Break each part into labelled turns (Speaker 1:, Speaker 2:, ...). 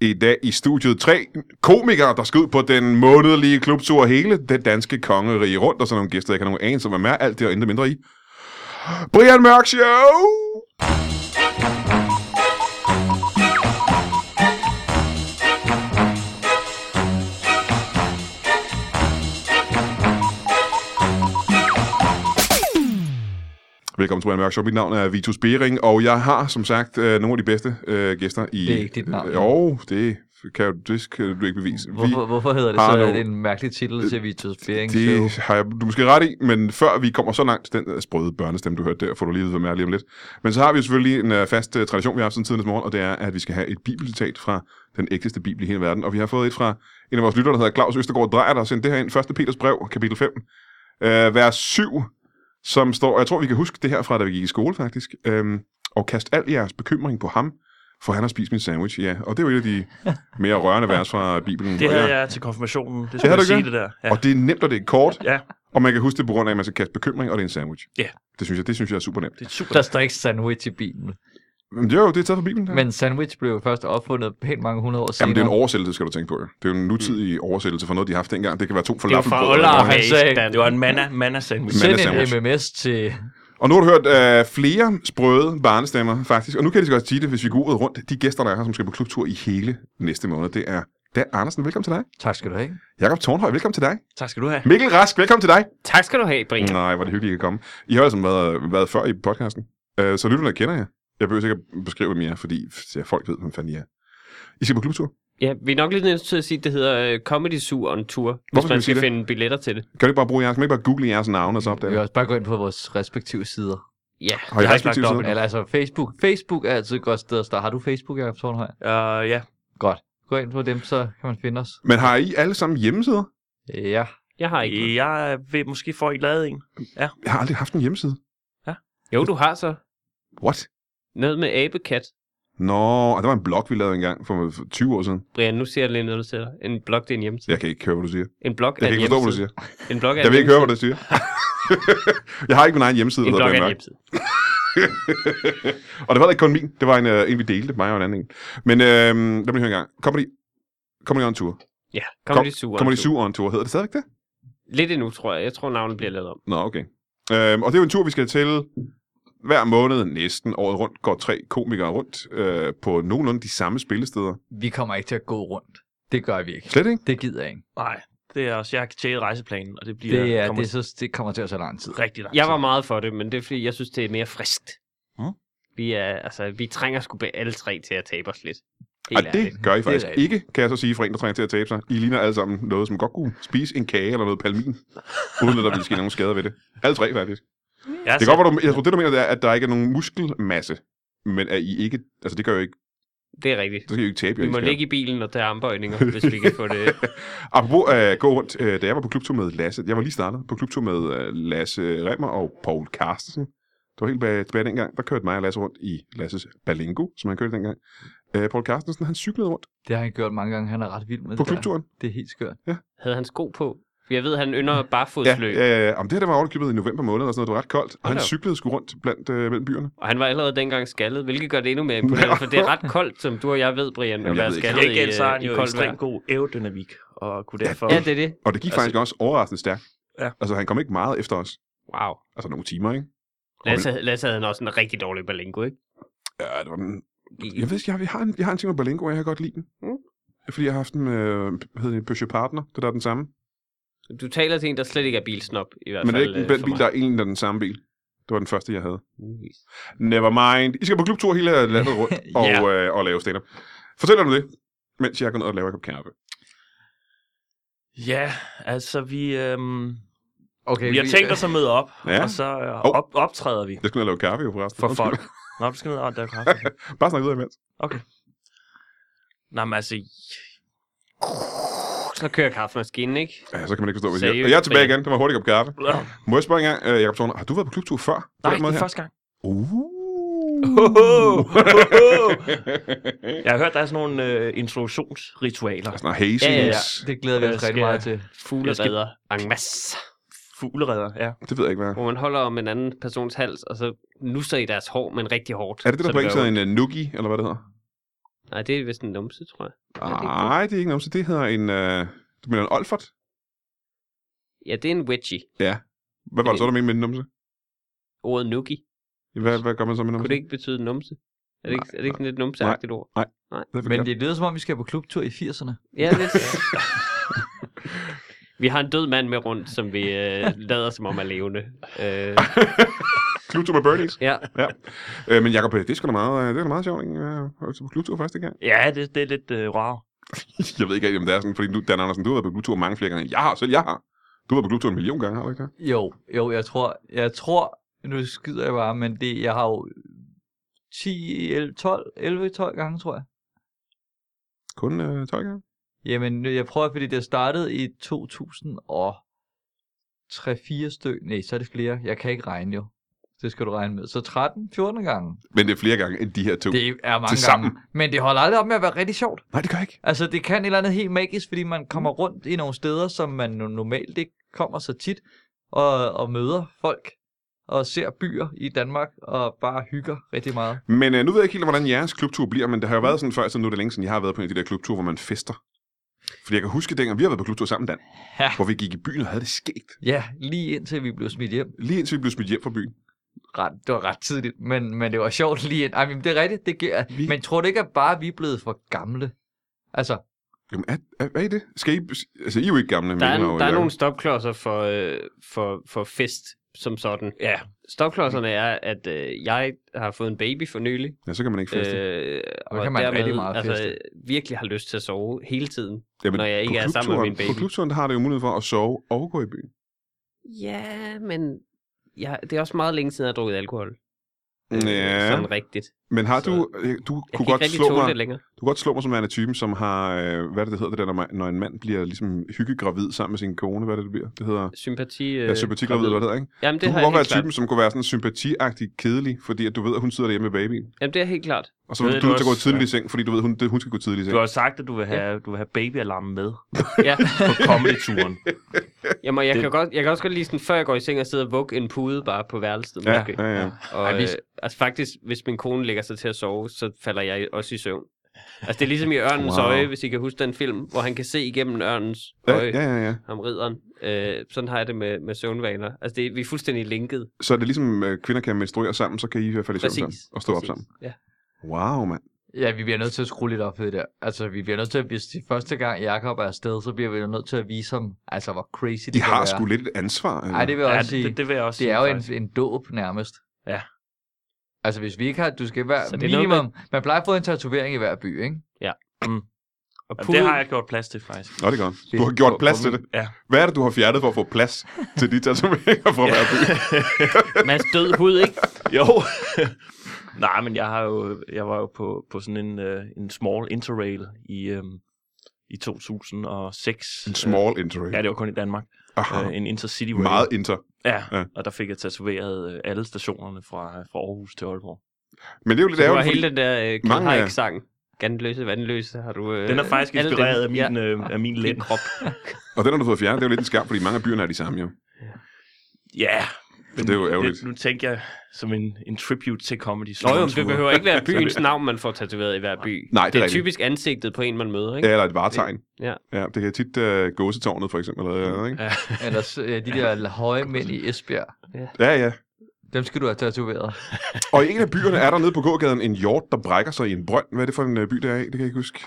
Speaker 1: I dag i studiet tre komikere, der skal ud på den månedlige klubtur hele det danske kongerige rundt, og så nogle gæster, jeg kan nogen anelse om, hvad med alt det og intet mindre i. Brian Mørk Show! Velkommen til Brian Mørk Show. Mit navn er Vitus Bering, og jeg har som sagt øh, nogle af de bedste øh, gæster i...
Speaker 2: Det er ikke dit navn.
Speaker 1: Jo, det kan, du- det kan du ikke bevise. Vi-
Speaker 2: Hvorfor, hvorfor hedder det
Speaker 1: har
Speaker 2: så? Er
Speaker 1: nogle-
Speaker 2: det en mærkelig titel til Vitus Bering Show?
Speaker 1: Det har jeg, du er måske ret i, men før vi kommer så langt, den øh, sprøde børnestemme, du hørte der, får du lige at vide, hvem er lige om lidt. Men så har vi jo selvfølgelig en øh, fast øh, tradition, vi har haft siden tidens morgen, og det er, at vi skal have et bibelcitat fra den ægteste bibel i hele verden. Og vi har fået et fra en af vores lyttere, der hedder Claus Østergaard Drejer, der har sendt det her ind. 1. Peters brev, kapitel 5, øh, vers 7, som står, og jeg tror, vi kan huske det her fra, da vi gik i skole faktisk, øhm, og kast al jeres bekymring på ham, for han har spist min sandwich, ja. Og det er jo et af de mere rørende vers fra Bibelen.
Speaker 3: Det
Speaker 1: Og
Speaker 3: havde
Speaker 1: jeg-
Speaker 3: jeg til konfirmationen. Det
Speaker 1: Det
Speaker 3: skulle
Speaker 1: havde
Speaker 3: jeg
Speaker 1: du
Speaker 3: sige,
Speaker 1: gjort?
Speaker 3: det der. Ja.
Speaker 1: Og det er nemt, og det er kort.
Speaker 3: ja,
Speaker 1: Og man kan huske det på grund af, at man skal kaste bekymring, og det er en sandwich.
Speaker 3: Ja.
Speaker 1: Det synes jeg, det synes jeg er super nemt.
Speaker 3: det er super.
Speaker 2: Der står ikke sandwich i bilen.
Speaker 1: Men det er jo, det er taget fra Bibelen. Der.
Speaker 2: Men sandwich blev jo først opfundet pænt mange hundrede år senere.
Speaker 1: Jamen, det er en oversættelse, skal du tænke på. jo. Det er jo en nutidig oversættelse for noget, de har haft dengang. Det kan være to
Speaker 3: Mm. Det var fra
Speaker 1: falafelbrød.
Speaker 3: Olaf.
Speaker 1: eller-
Speaker 2: han sagde-
Speaker 3: Det var en manna, manna sandwich.
Speaker 1: Men-
Speaker 2: Send
Speaker 1: mandesandwich.
Speaker 2: en MMS til...
Speaker 1: Og nu har du hørt øh, flere sprøde barnestemmer, faktisk. Og nu kan jeg lige så godt sige det, hvis vi går ud rundt. De gæster, der er her, som skal på klubtur i hele næste måned, det er Dan Andersen, velkommen til dig.
Speaker 2: Tak skal du have.
Speaker 1: Jakob Tornhøj, velkommen til dig.
Speaker 3: Tak skal du have.
Speaker 1: Mikkel Rask, velkommen til dig.
Speaker 4: Tak skal du have, Brian.
Speaker 1: Nej, hvor er det hyggeligt, I kan komme. I har jo altså været, været før i podcasten, øh, så lytterne kender jer. Jeg behøver sikkert beskrive, hvem I er, fordi ja, folk ved, hvem fanden I er. I skal på klubtur.
Speaker 4: Ja, vi er nok lidt nødt til at sige, at det hedder uh, Comedy Zoo on Tour,
Speaker 1: Hvorfor
Speaker 4: hvis
Speaker 1: skal vi
Speaker 4: man
Speaker 1: sige
Speaker 4: skal
Speaker 1: det?
Speaker 4: finde billetter til det.
Speaker 1: Kan du ikke bare bruge jeres? Kan man ikke bare google jeres navne og så
Speaker 2: Vi
Speaker 1: opdage
Speaker 2: kan
Speaker 1: det?
Speaker 2: også bare gå ind på vores respektive sider.
Speaker 1: Har
Speaker 4: Ja,
Speaker 1: I
Speaker 3: Jeg har ikke
Speaker 1: respektive
Speaker 3: lagt op
Speaker 1: sider?
Speaker 2: Eller altså Facebook. Facebook er altid et godt sted at starte. Har du Facebook, Jacob Tornhøj?
Speaker 3: Uh, ja.
Speaker 2: Godt. Gå ind på dem, så kan man finde os.
Speaker 1: Men har I alle sammen hjemmesider?
Speaker 2: Ja.
Speaker 4: jeg har
Speaker 1: Øh.
Speaker 4: ikke. noget.
Speaker 3: Jeg vil måske få ikke lavet en.
Speaker 1: Jeg har aldrig haft en hjemmeside.
Speaker 4: Jo, du har så
Speaker 1: What?
Speaker 4: noget med abekat.
Speaker 1: Nå, og der var en blog, vi lavede engang for for 20 år siden.
Speaker 4: Brian, nu siger jeg lige noget til dig. En blog, det er en hjemmeside.
Speaker 1: Jeg kan ikke høre, hvad du siger.
Speaker 4: En blog
Speaker 1: Jeg
Speaker 4: er
Speaker 1: kan
Speaker 4: en
Speaker 1: ikke forstå, hvad du
Speaker 4: hjemmeside.
Speaker 1: siger.
Speaker 4: En blog er
Speaker 1: Jeg
Speaker 4: en
Speaker 1: vil ikke høre, hvad
Speaker 4: hjemmeside.
Speaker 1: du siger. jeg har ikke min egen hjemmeside, der
Speaker 4: En
Speaker 1: hedder
Speaker 4: blog er en
Speaker 1: Brian Mørk.
Speaker 4: hjemmeside.
Speaker 1: og det var da ikke kun min. Det var en, øh, en vi delte, mig og en anden en. Men øh, lad mig høre en gang. Comedy, Comedy on Tour.
Speaker 4: Ja, Comedy Zoo on
Speaker 1: Comedy
Speaker 4: Tour.
Speaker 1: Zoo on Tour. Hedder det stadigvæk det?
Speaker 4: Lidt endnu, tror jeg. Jeg tror, navnet bliver lavet om.
Speaker 1: Nå, okay. Øhm, og det er jo en tur, vi skal til hver måned næsten året rundt. Går tre komikere rundt øh, på nogenlunde de samme spillesteder.
Speaker 2: Vi kommer ikke til at gå rundt. Det gør vi ikke.
Speaker 1: Slet ikke?
Speaker 2: Det gider jeg ikke.
Speaker 3: Nej, det er også. Jeg har tjekket rejseplanen, og det bliver
Speaker 2: Det, er,
Speaker 3: kommer
Speaker 2: det, så, det kommer til at tage lang tid.
Speaker 3: rigtig langt.
Speaker 4: Jeg var
Speaker 1: Altså.
Speaker 4: meget for det, men det er fordi, jeg synes, det er mere friskt.
Speaker 3: Mm.
Speaker 4: Vi, er, altså, vi trænger sgu be- alle tre til at tabe os lidt.
Speaker 1: Ej,
Speaker 4: Helt ærligt.
Speaker 1: det gør I faktisk
Speaker 2: rigtigt.
Speaker 1: ikke, kan jeg så sige, for en, der trænger til at tabe sig. I ligner alle sammen noget, som godt kunne spise en kage eller noget palmin, uden at der ville ske nogen skader ved det. Alle tre, faktisk.
Speaker 3: Jeg
Speaker 1: Det
Speaker 4: Altså-
Speaker 1: kan godt, være, du, jeg tror, det du mener, det er, at der ikke er nogen muskelmasse, men at I ikke, altså det gør jo ikke,
Speaker 4: Det er rigtigt.
Speaker 1: det skal I jo ikke tabe. jer,
Speaker 4: Vi
Speaker 1: I
Speaker 4: må
Speaker 1: skal-
Speaker 4: ligge i bilen og tage armbøjninger, hvis vi kan få det.
Speaker 1: Apropos at gå rundt, øh, da jeg var på klubtur med Lasse, jeg var lige startet på klubtur med øh, Lasse Remmer og Paul Carstensen. Det var helt bag- tilbage dengang, der kørte mig og Lasse rundt i Lasses Balingo, som han kørte dengang. Øh, Paul Carstensen, han cyklede rundt
Speaker 2: Det har han gjort mange gange. Han er ret vild med
Speaker 1: på
Speaker 2: det der.
Speaker 1: klubturen.
Speaker 2: Det er helt skørt.
Speaker 4: Havde han sko på? Jeg ved, han ynder
Speaker 1: Ja,
Speaker 4: barfodsløb.
Speaker 1: ja, ja, ja. Om det her det var ovenikøbet i november måned, og sådan noget, det var ret koldt. Og han
Speaker 4: da op.
Speaker 1: cyklede sgu rundt blandt, øh, mellem byerne.
Speaker 4: Og han var allerede dengang skaldet, hvilket gør det endnu mere imponerende, for det er ret koldt, som du og jeg ved, Brian,
Speaker 1: Jamen,
Speaker 4: at
Speaker 1: jeg
Speaker 4: være
Speaker 1: ved ikke.
Speaker 4: skaldet i,
Speaker 3: Gengæld så har han
Speaker 4: øh, i
Speaker 3: jo
Speaker 4: koldt vejr.
Speaker 3: ekstremt god aerodynamik, og kunne derfor...
Speaker 4: Ja, det er det.
Speaker 1: Og det gik altså,
Speaker 3: Altså-
Speaker 1: faktisk også overraskende stærkt.
Speaker 3: Ja.
Speaker 1: Altså, han kom ikke meget efter os.
Speaker 4: Wow.
Speaker 1: Altså, nogle timer, ikke?
Speaker 4: Lasse, Lasse havde han også en rigtig dårlig balingo, ikke?
Speaker 1: Ja, det var den... Jeg ved ikke, jeg, jeg, har en, jeg har en ting med Balingo, og jeg kan godt lide den. Mm. Fordi jeg har haft en, øh, hvad hedder det, Peugeot Partner, det der er den samme.
Speaker 4: Du taler til en, der slet ikke er bilsnop, i hvert
Speaker 1: Men det er
Speaker 4: fald.
Speaker 1: ikke den,
Speaker 4: øh,
Speaker 1: den
Speaker 4: for
Speaker 1: bil,
Speaker 4: mig.
Speaker 1: der er egentlig den samme bil. Det var den første, jeg havde. Never mind. I skal på klubtur hele landet rundt
Speaker 2: Ja.
Speaker 1: og, øh, og lave stand-up. Fortæl om det, mens jeg går ned og laver en kop kaffe.
Speaker 3: Ja, altså vi... Øhm,
Speaker 2: Okay,
Speaker 3: vi har tænkt os at møde op,
Speaker 1: Ja.
Speaker 3: og så øh,
Speaker 1: Hov.
Speaker 3: op, optræder vi
Speaker 1: Jeg skal ned og lave kaffe jo forresten.
Speaker 3: for
Speaker 1: Undskyld.
Speaker 3: folk. Nå, du skal ned og der er kaffe.
Speaker 1: Bare snak videre imens.
Speaker 3: Nej, men altså...
Speaker 4: Så kører kaffemaskinen, ikke?
Speaker 1: Ja, så kan man ikke forstå, hvad jeg siger.
Speaker 4: Seriøst,
Speaker 1: Og jeg er tilbage
Speaker 4: Brian.
Speaker 1: igen. Det var hurtigt kop kaffe. Må jeg spørge engang, øh, Jacob Torne, har du været på klubtur før? På
Speaker 3: Nej,
Speaker 1: den
Speaker 3: det
Speaker 1: måde
Speaker 3: er
Speaker 1: her?
Speaker 3: første gang.
Speaker 4: Oh.
Speaker 1: Uh.
Speaker 3: Jeg har hørt, der er sådan nogle øh, introduktionsritualer.
Speaker 1: Der er sådan noget hazes.
Speaker 4: Ja, ja, ja.
Speaker 2: Det glæder vi os
Speaker 3: Skal
Speaker 2: rigtig
Speaker 3: jeg-
Speaker 2: meget til.
Speaker 4: Fugleredder. En masse.
Speaker 3: Fugleredder, ja.
Speaker 1: Det ved jeg ikke, hvad er.
Speaker 4: Hvor man holder om en anden persons hals, og så nusser i deres hår, men rigtig hårdt.
Speaker 1: Er det det,
Speaker 4: Så
Speaker 1: der på engelsk
Speaker 4: gør
Speaker 1: hedder en uh, noogie, eller hvad det hedder?
Speaker 4: ondt. Nej, det er vist en numse, tror jeg.
Speaker 1: Nej, det er ikke en numse. Det hedder en... Øh, du mener en olfert?
Speaker 4: Ja, det er en wedgie.
Speaker 1: Hvad var det så, der mente med en numse?
Speaker 4: Ordet nuki.
Speaker 1: Hvad, hvad gør man så med en
Speaker 4: Kunne
Speaker 1: numse?
Speaker 4: det ikke betyde numse? Er det ikke, er det ikke sådan lidt numseagtigt ord?
Speaker 1: Det er forkert.
Speaker 2: Men det lyder som om, vi skal på klubtur i 80'erne.
Speaker 4: Ja, lidt. vi har en død mand med rundt, som vi øh, lader som om er levende. Øh,
Speaker 1: Klubtur med Bernies.
Speaker 4: ja.
Speaker 1: ja. Øh, men Jacob, det er sgu da meget, øh, det er da meget sjovt, ikke? Øh, at tage på klubtur første gang.
Speaker 3: Ja, det, det er lidt øh, rart.
Speaker 1: Jeg ved ikke rigtig, om det er sådan, fordi du, Dan Andersen, du har været på klubtur mange flere gange, end jeg har, selv jeg har. Du har været på klubtur en million gange, har du ikke det?
Speaker 2: Jo, jo, jeg tror, jeg tror, nu skyder jeg bare, men det, jeg har jo 10, 11, 12, 11, 12 gange, tror jeg.
Speaker 1: Kun øh, 12 gange?
Speaker 2: Jamen, nu- jeg prøver, fordi det startede i 2000 og 3-4 styk. Nej, så er det flere. Jeg kan ikke regne jo. Det skal du regne med. Så 13, 14 gange.
Speaker 1: Men det er flere gange end de her to. Det...
Speaker 2: Det er mange
Speaker 1: Tilsammen.
Speaker 2: gange. Men det holder aldrig op med at være rigtig sjovt.
Speaker 1: Nej, det gør jeg ikke.
Speaker 2: Altså, det kan et eller andet helt magisk, fordi man kommer rundt i nogle steder, som man no- normalt ikke kommer så tit, og, og møder folk, og ser byer i Danmark, og bare hygger rigtig meget.
Speaker 1: Men øh, nu ved jeg ikke helt, hvordan jeres klubtur bliver, men det har jo været sådan før, så nu er det længe siden, jeg har været på en af de der klubture, hvor man fester. Fordi jeg kan huske dengang, vi har været på klubtur sammen, Dan.
Speaker 2: Ja.
Speaker 1: Hvor vi gik i byen og havde det skægt.
Speaker 2: Ja, lige indtil vi blev smidt hjem.
Speaker 1: Lige indtil vi blev smidt hjem fra byen.
Speaker 2: Ret, det var ret tidligt, men, men det var sjovt lige ind. Ej, men det er rigtigt. Det gør,
Speaker 1: Vi-
Speaker 2: vi... Men tror du ikke, at bare vi er blevet for gamle? Altså,
Speaker 1: Jamen, er, er, hvad er det? Skal I, altså, I er jo ikke gamle.
Speaker 4: Der
Speaker 1: Mikkel
Speaker 4: er,
Speaker 1: og
Speaker 4: der er
Speaker 1: Jacob.
Speaker 4: nogle stopklodser for, øh, for, for fest som sådan.
Speaker 3: Ja,
Speaker 4: Stopklodserne er, at øh, jeg har fået en baby for nylig.
Speaker 1: Ja, så kan man ikke feste. Øh,
Speaker 4: Øh,
Speaker 2: Og kan man rigtig meget
Speaker 4: altså,
Speaker 2: feste.
Speaker 4: virkelig har lyst til at sove hele tiden, når jeg ikke er sammen med min
Speaker 1: På
Speaker 4: baby.
Speaker 1: klubturen der har det jo mulighed for at sove og gå i byen.
Speaker 4: Ja, men jeg, det er også meget længe siden, jeg har drukket alkohol. Øh,
Speaker 1: Ja.
Speaker 4: Sådan rigtigt.
Speaker 1: Men har
Speaker 4: Så-
Speaker 1: du, øh, du
Speaker 4: Jeg
Speaker 1: kunne
Speaker 4: kan
Speaker 1: godt
Speaker 4: ikke rigtig
Speaker 1: slå
Speaker 4: tåle
Speaker 1: mig,
Speaker 4: det længere.
Speaker 1: du kunne godt slå mig som værende typen, som har, øh, hvad er det, det hedder det der, når, man, når en mand bliver ligesom hyggegravid sammen med sin kone, hvad er det, det bliver? Det hedder,
Speaker 4: Sympati...
Speaker 1: øh,
Speaker 4: Øh,
Speaker 1: ja, sympatigravid, eller hvad det hedder, ikke?
Speaker 4: Jamen,
Speaker 1: Det
Speaker 4: det
Speaker 1: du
Speaker 4: har
Speaker 1: kunne
Speaker 4: jeg
Speaker 1: godt være
Speaker 4: helt klart.
Speaker 1: typen, som kunne være sådan sympatiagtig kedelig, fordi at du ved, at hun sidder derhjemme med babyen.
Speaker 4: Jamen, det er helt klart.
Speaker 1: Og så
Speaker 3: Ved
Speaker 1: vil
Speaker 3: jeg
Speaker 1: du
Speaker 3: det
Speaker 1: til at gå
Speaker 3: også,
Speaker 1: tidligt
Speaker 3: ja.
Speaker 1: i seng, fordi du ved, hun, det, hun skal gå tidligt i
Speaker 3: du
Speaker 1: seng.
Speaker 3: har sagt, at du vil have, du vil have babyalarmen med
Speaker 4: Ja.
Speaker 3: på comedy-turen.
Speaker 4: Jamen, jeg,
Speaker 3: Det-
Speaker 4: kan godt, jeg kan også godt lige sådan, før jeg går i seng og sidder og vugge en pude bare på værelset.
Speaker 1: Ja,
Speaker 4: måske.
Speaker 1: ja, ja.
Speaker 4: Og,
Speaker 2: Ej, vi-
Speaker 4: øh, altså faktisk, hvis min kone lægger sig til at sove, så falder jeg også i søvn. Altså det er ligesom i Ørnens
Speaker 1: Wow.
Speaker 4: wow. øje, hvis I kan huske den film, hvor han kan se igennem Ørnens
Speaker 1: Ja,
Speaker 4: øje,
Speaker 1: ja, ja, ja.
Speaker 4: ham ridderen. Øh, sådan har jeg det med, med søvnvaner. Altså det, vi er fuldstændig linket.
Speaker 1: Så er det ligesom, øh, kvinder kan menstruere sammen, så kan I i hvert fald i søvn sammen
Speaker 4: Præcis.
Speaker 1: og stå op
Speaker 4: Præcis.
Speaker 1: sammen.
Speaker 4: Ja.
Speaker 1: Wow, mand.
Speaker 2: ja, vi bliver nødt til at skrue lidt op ved det der. Altså, vi bliver nødt til at, hvis det er første gang Jakob er afsted, så bliver vi jo nødt til at vise ham, altså, hvor crazy det
Speaker 1: De
Speaker 2: kan
Speaker 1: har
Speaker 2: være.
Speaker 1: sgu lidt et ansvar. eller?
Speaker 2: Ej, det vil jeg
Speaker 3: Ja,
Speaker 2: også sige.
Speaker 3: det, det vil jeg også
Speaker 2: Det
Speaker 3: sige,
Speaker 2: er jo
Speaker 3: faktisk.
Speaker 2: en, en dåb nærmest.
Speaker 3: Ja.
Speaker 2: Altså hvis vi ikke har, du skal være
Speaker 4: Så
Speaker 2: så
Speaker 4: det
Speaker 2: det
Speaker 4: er noget
Speaker 2: minimum, man... man plejer at få en tatovering i hver by, ikke?
Speaker 4: Og
Speaker 3: Jamen,
Speaker 4: pude,
Speaker 3: det har jeg gjort plads til, faktisk.
Speaker 1: Nå, det er godt. Du har gjort
Speaker 4: På-
Speaker 1: plads
Speaker 4: på
Speaker 1: til
Speaker 4: min-
Speaker 1: det.
Speaker 3: Ja.
Speaker 1: Hvad er det, du har fjernet for at få plads til de tatoveringer fra hver by?
Speaker 4: Mads død hud, ikke?
Speaker 3: Jo. Nej, men jeg har jo, jeg var jo på, på sådan en, øh, en small interrail i, øh, i 2006.
Speaker 1: En small interrail.
Speaker 3: Ja, det var kun i Danmark.
Speaker 1: Aha.
Speaker 3: Øh, en intercity rail.
Speaker 1: Meget inter.
Speaker 3: Ja,
Speaker 1: Ja.
Speaker 3: ja, og der fik jeg tatoveret øh, alle stationerne fra, fra Aarhus til Aalborg.
Speaker 1: Men det er jo lidt
Speaker 4: Du har
Speaker 1: ærgerligt, fordi...
Speaker 4: hele den der øh,
Speaker 1: mange af-
Speaker 4: Kjell Gandløse, vandløse, har du... Øh,
Speaker 3: Den er faktisk
Speaker 4: alle dem.
Speaker 3: inspireret af min,
Speaker 4: Ja.
Speaker 3: ja. øh, af min lænd.
Speaker 4: krop.
Speaker 1: Og den har du fået fjernet. Det er jo lidt en skam, fordi mange af byerne er de samme, jo.
Speaker 3: Ja,
Speaker 1: det er jo ærgerligt.
Speaker 3: Nu tænker jeg som en, en tribute til comedy.
Speaker 4: Nå jo, men det behøver ikke være byens navn, man får tatoveret i hver by.
Speaker 1: Nej, det er
Speaker 4: det er
Speaker 1: rigtigt.
Speaker 4: typisk ansigtet på en, man møder,
Speaker 1: Ja,
Speaker 4: ikke?
Speaker 1: eller et varetegn.
Speaker 4: Ja.
Speaker 1: ja det kan tit uh, gåsetårnet, for eksempel. Eller, eller, ikke?
Speaker 3: Ja.
Speaker 2: Ellers øh, de der høje mænd i Esbjerg,
Speaker 1: Ja, ja.
Speaker 2: dem skal du have tatoveret.
Speaker 1: Og i en af byerne er der nede på gågaden en hjort, der brækker sig i en brønd. Hvad er det for en øh, by, der er i? Det kan jeg ikke huske.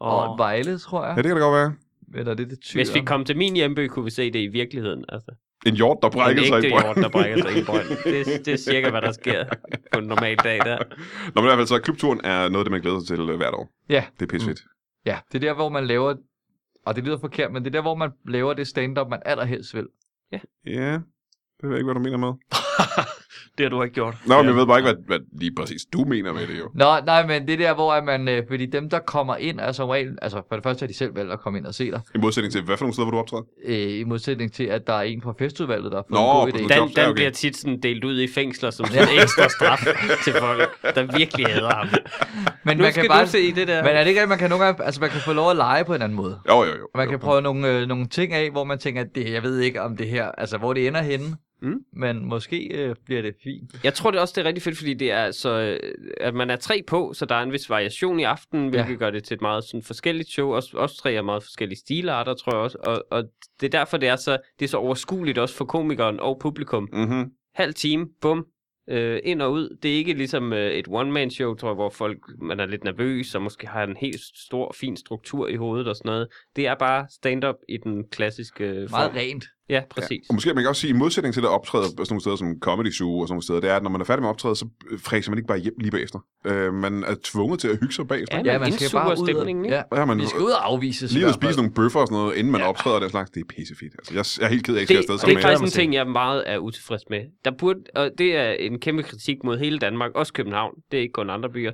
Speaker 2: Og
Speaker 3: Og,
Speaker 2: Vejle, tror jeg.
Speaker 1: Ja, det kan det godt være.
Speaker 2: Eller det er det tyre.
Speaker 4: Hvis vi kom til min hjemby, kunne vi se det i virkeligheden. Altså,
Speaker 1: En hjort, der
Speaker 4: en
Speaker 1: brækker sig
Speaker 4: ægte
Speaker 1: i brønd.
Speaker 4: hjort, der brækker sig i en brønd. Det, det er cirka, hvad der sker på en normal dag der.
Speaker 1: Nå, men i hvert fald så, klubturen er noget, af det man glæder sig til øh, hvert år.
Speaker 2: Ja.
Speaker 1: Det er pissefedt.
Speaker 2: Ja, det er der, hvor man laver, og det lyder forkert, men det er der, hvor man laver det stand-up, man allerhelst vil.
Speaker 4: Mm.
Speaker 1: Ja, det ved jeg ikke, hvad du mener med.
Speaker 3: det har du ikke gjort.
Speaker 1: Nå, men jeg ved bare ikke, hvad, hvad lige præcis du mener med det, jo.
Speaker 2: Nå, nej, men det er der, hvor at man, øh, fordi dem, der kommer ind, er som regel, altså for det første har de selv valgt at komme ind og se dig,
Speaker 1: I modsætning til, hvad for nogle steder, hvor du optræder?
Speaker 2: øh, i modsætning til, at der er en fra festudvalget, der har
Speaker 1: Nå,
Speaker 2: fået en god
Speaker 1: på
Speaker 2: idé.
Speaker 1: den-
Speaker 4: Dan,
Speaker 1: Jobs, ja,
Speaker 4: Dan
Speaker 1: okay.
Speaker 4: bliver tit sådan delt ud i fængsler som sådan en ekstra straf til folk, der virkelig hader ham.
Speaker 2: Men
Speaker 4: Nu
Speaker 2: man
Speaker 4: skal
Speaker 2: kan
Speaker 4: du
Speaker 2: bare,
Speaker 4: se det der.
Speaker 2: Men er det ikke, at man kan nogle gange, altså man kan få lov at lege på en anden måde?
Speaker 1: Jo, jo, jo.
Speaker 2: Og man
Speaker 1: jo.
Speaker 2: kan prøve nogle, øh, nogle ting af, hvor man tænker, at det, jeg ved ikke om det her, altså hvor det ender henne.
Speaker 4: Mm.
Speaker 2: Men måske øh, bliver det fint.
Speaker 4: Jeg tror det også, det er rigtig fedt, fordi det er altså, øh, at man er tre på, så der er en vis variation i aftenen, hvilket ja. gør det til et meget sådan, forskelligt show. Også, også tre er meget forskellige stilarter, tror jeg også. Og, og det er derfor, det er, så, det er så overskueligt også for komikeren og publikum.
Speaker 1: Mm-hmm.
Speaker 4: Halv time, bum, øh, ind og ud. Det er ikke ligesom øh, et one-man-show, tror jeg, hvor folk, man er lidt nervøs, og måske har en helt stor, fin struktur i hovedet og sådan noget. Det er bare stand-up i den klassiske
Speaker 2: Meget
Speaker 4: øh, form.
Speaker 2: rent.
Speaker 4: Ja, præcis.
Speaker 1: Og måske man kan også sige, i modsætning til at optræde på sådan nogle steder som Comedy Zoo og sådan nogle steder, det er, at når man er færdig med at optræde, så fræser man ikke bare hjem lige bagefter. Øh, man er tvunget til at hygge sig bagefter.
Speaker 4: Ja,
Speaker 1: Ja,
Speaker 4: man indsuger stemningen, ikke?
Speaker 2: ja.
Speaker 1: ja man
Speaker 2: Vi skal ud og afvise
Speaker 1: lige ud og spise nogle bøffer og sådan noget, inden man ja. optræder og den slags. Det er pissefedt. Altså, jeg, jeg er helt ked af, at jeg skal
Speaker 4: det,
Speaker 1: afsted
Speaker 4: det er
Speaker 1: sammen med jer.
Speaker 4: faktisk en
Speaker 3: mig til.
Speaker 4: ting, jeg meget er utilfreds med. Der burde, og det er en kæmpe kritik mod hele Danmark, også København, det er ikke kun andre byer.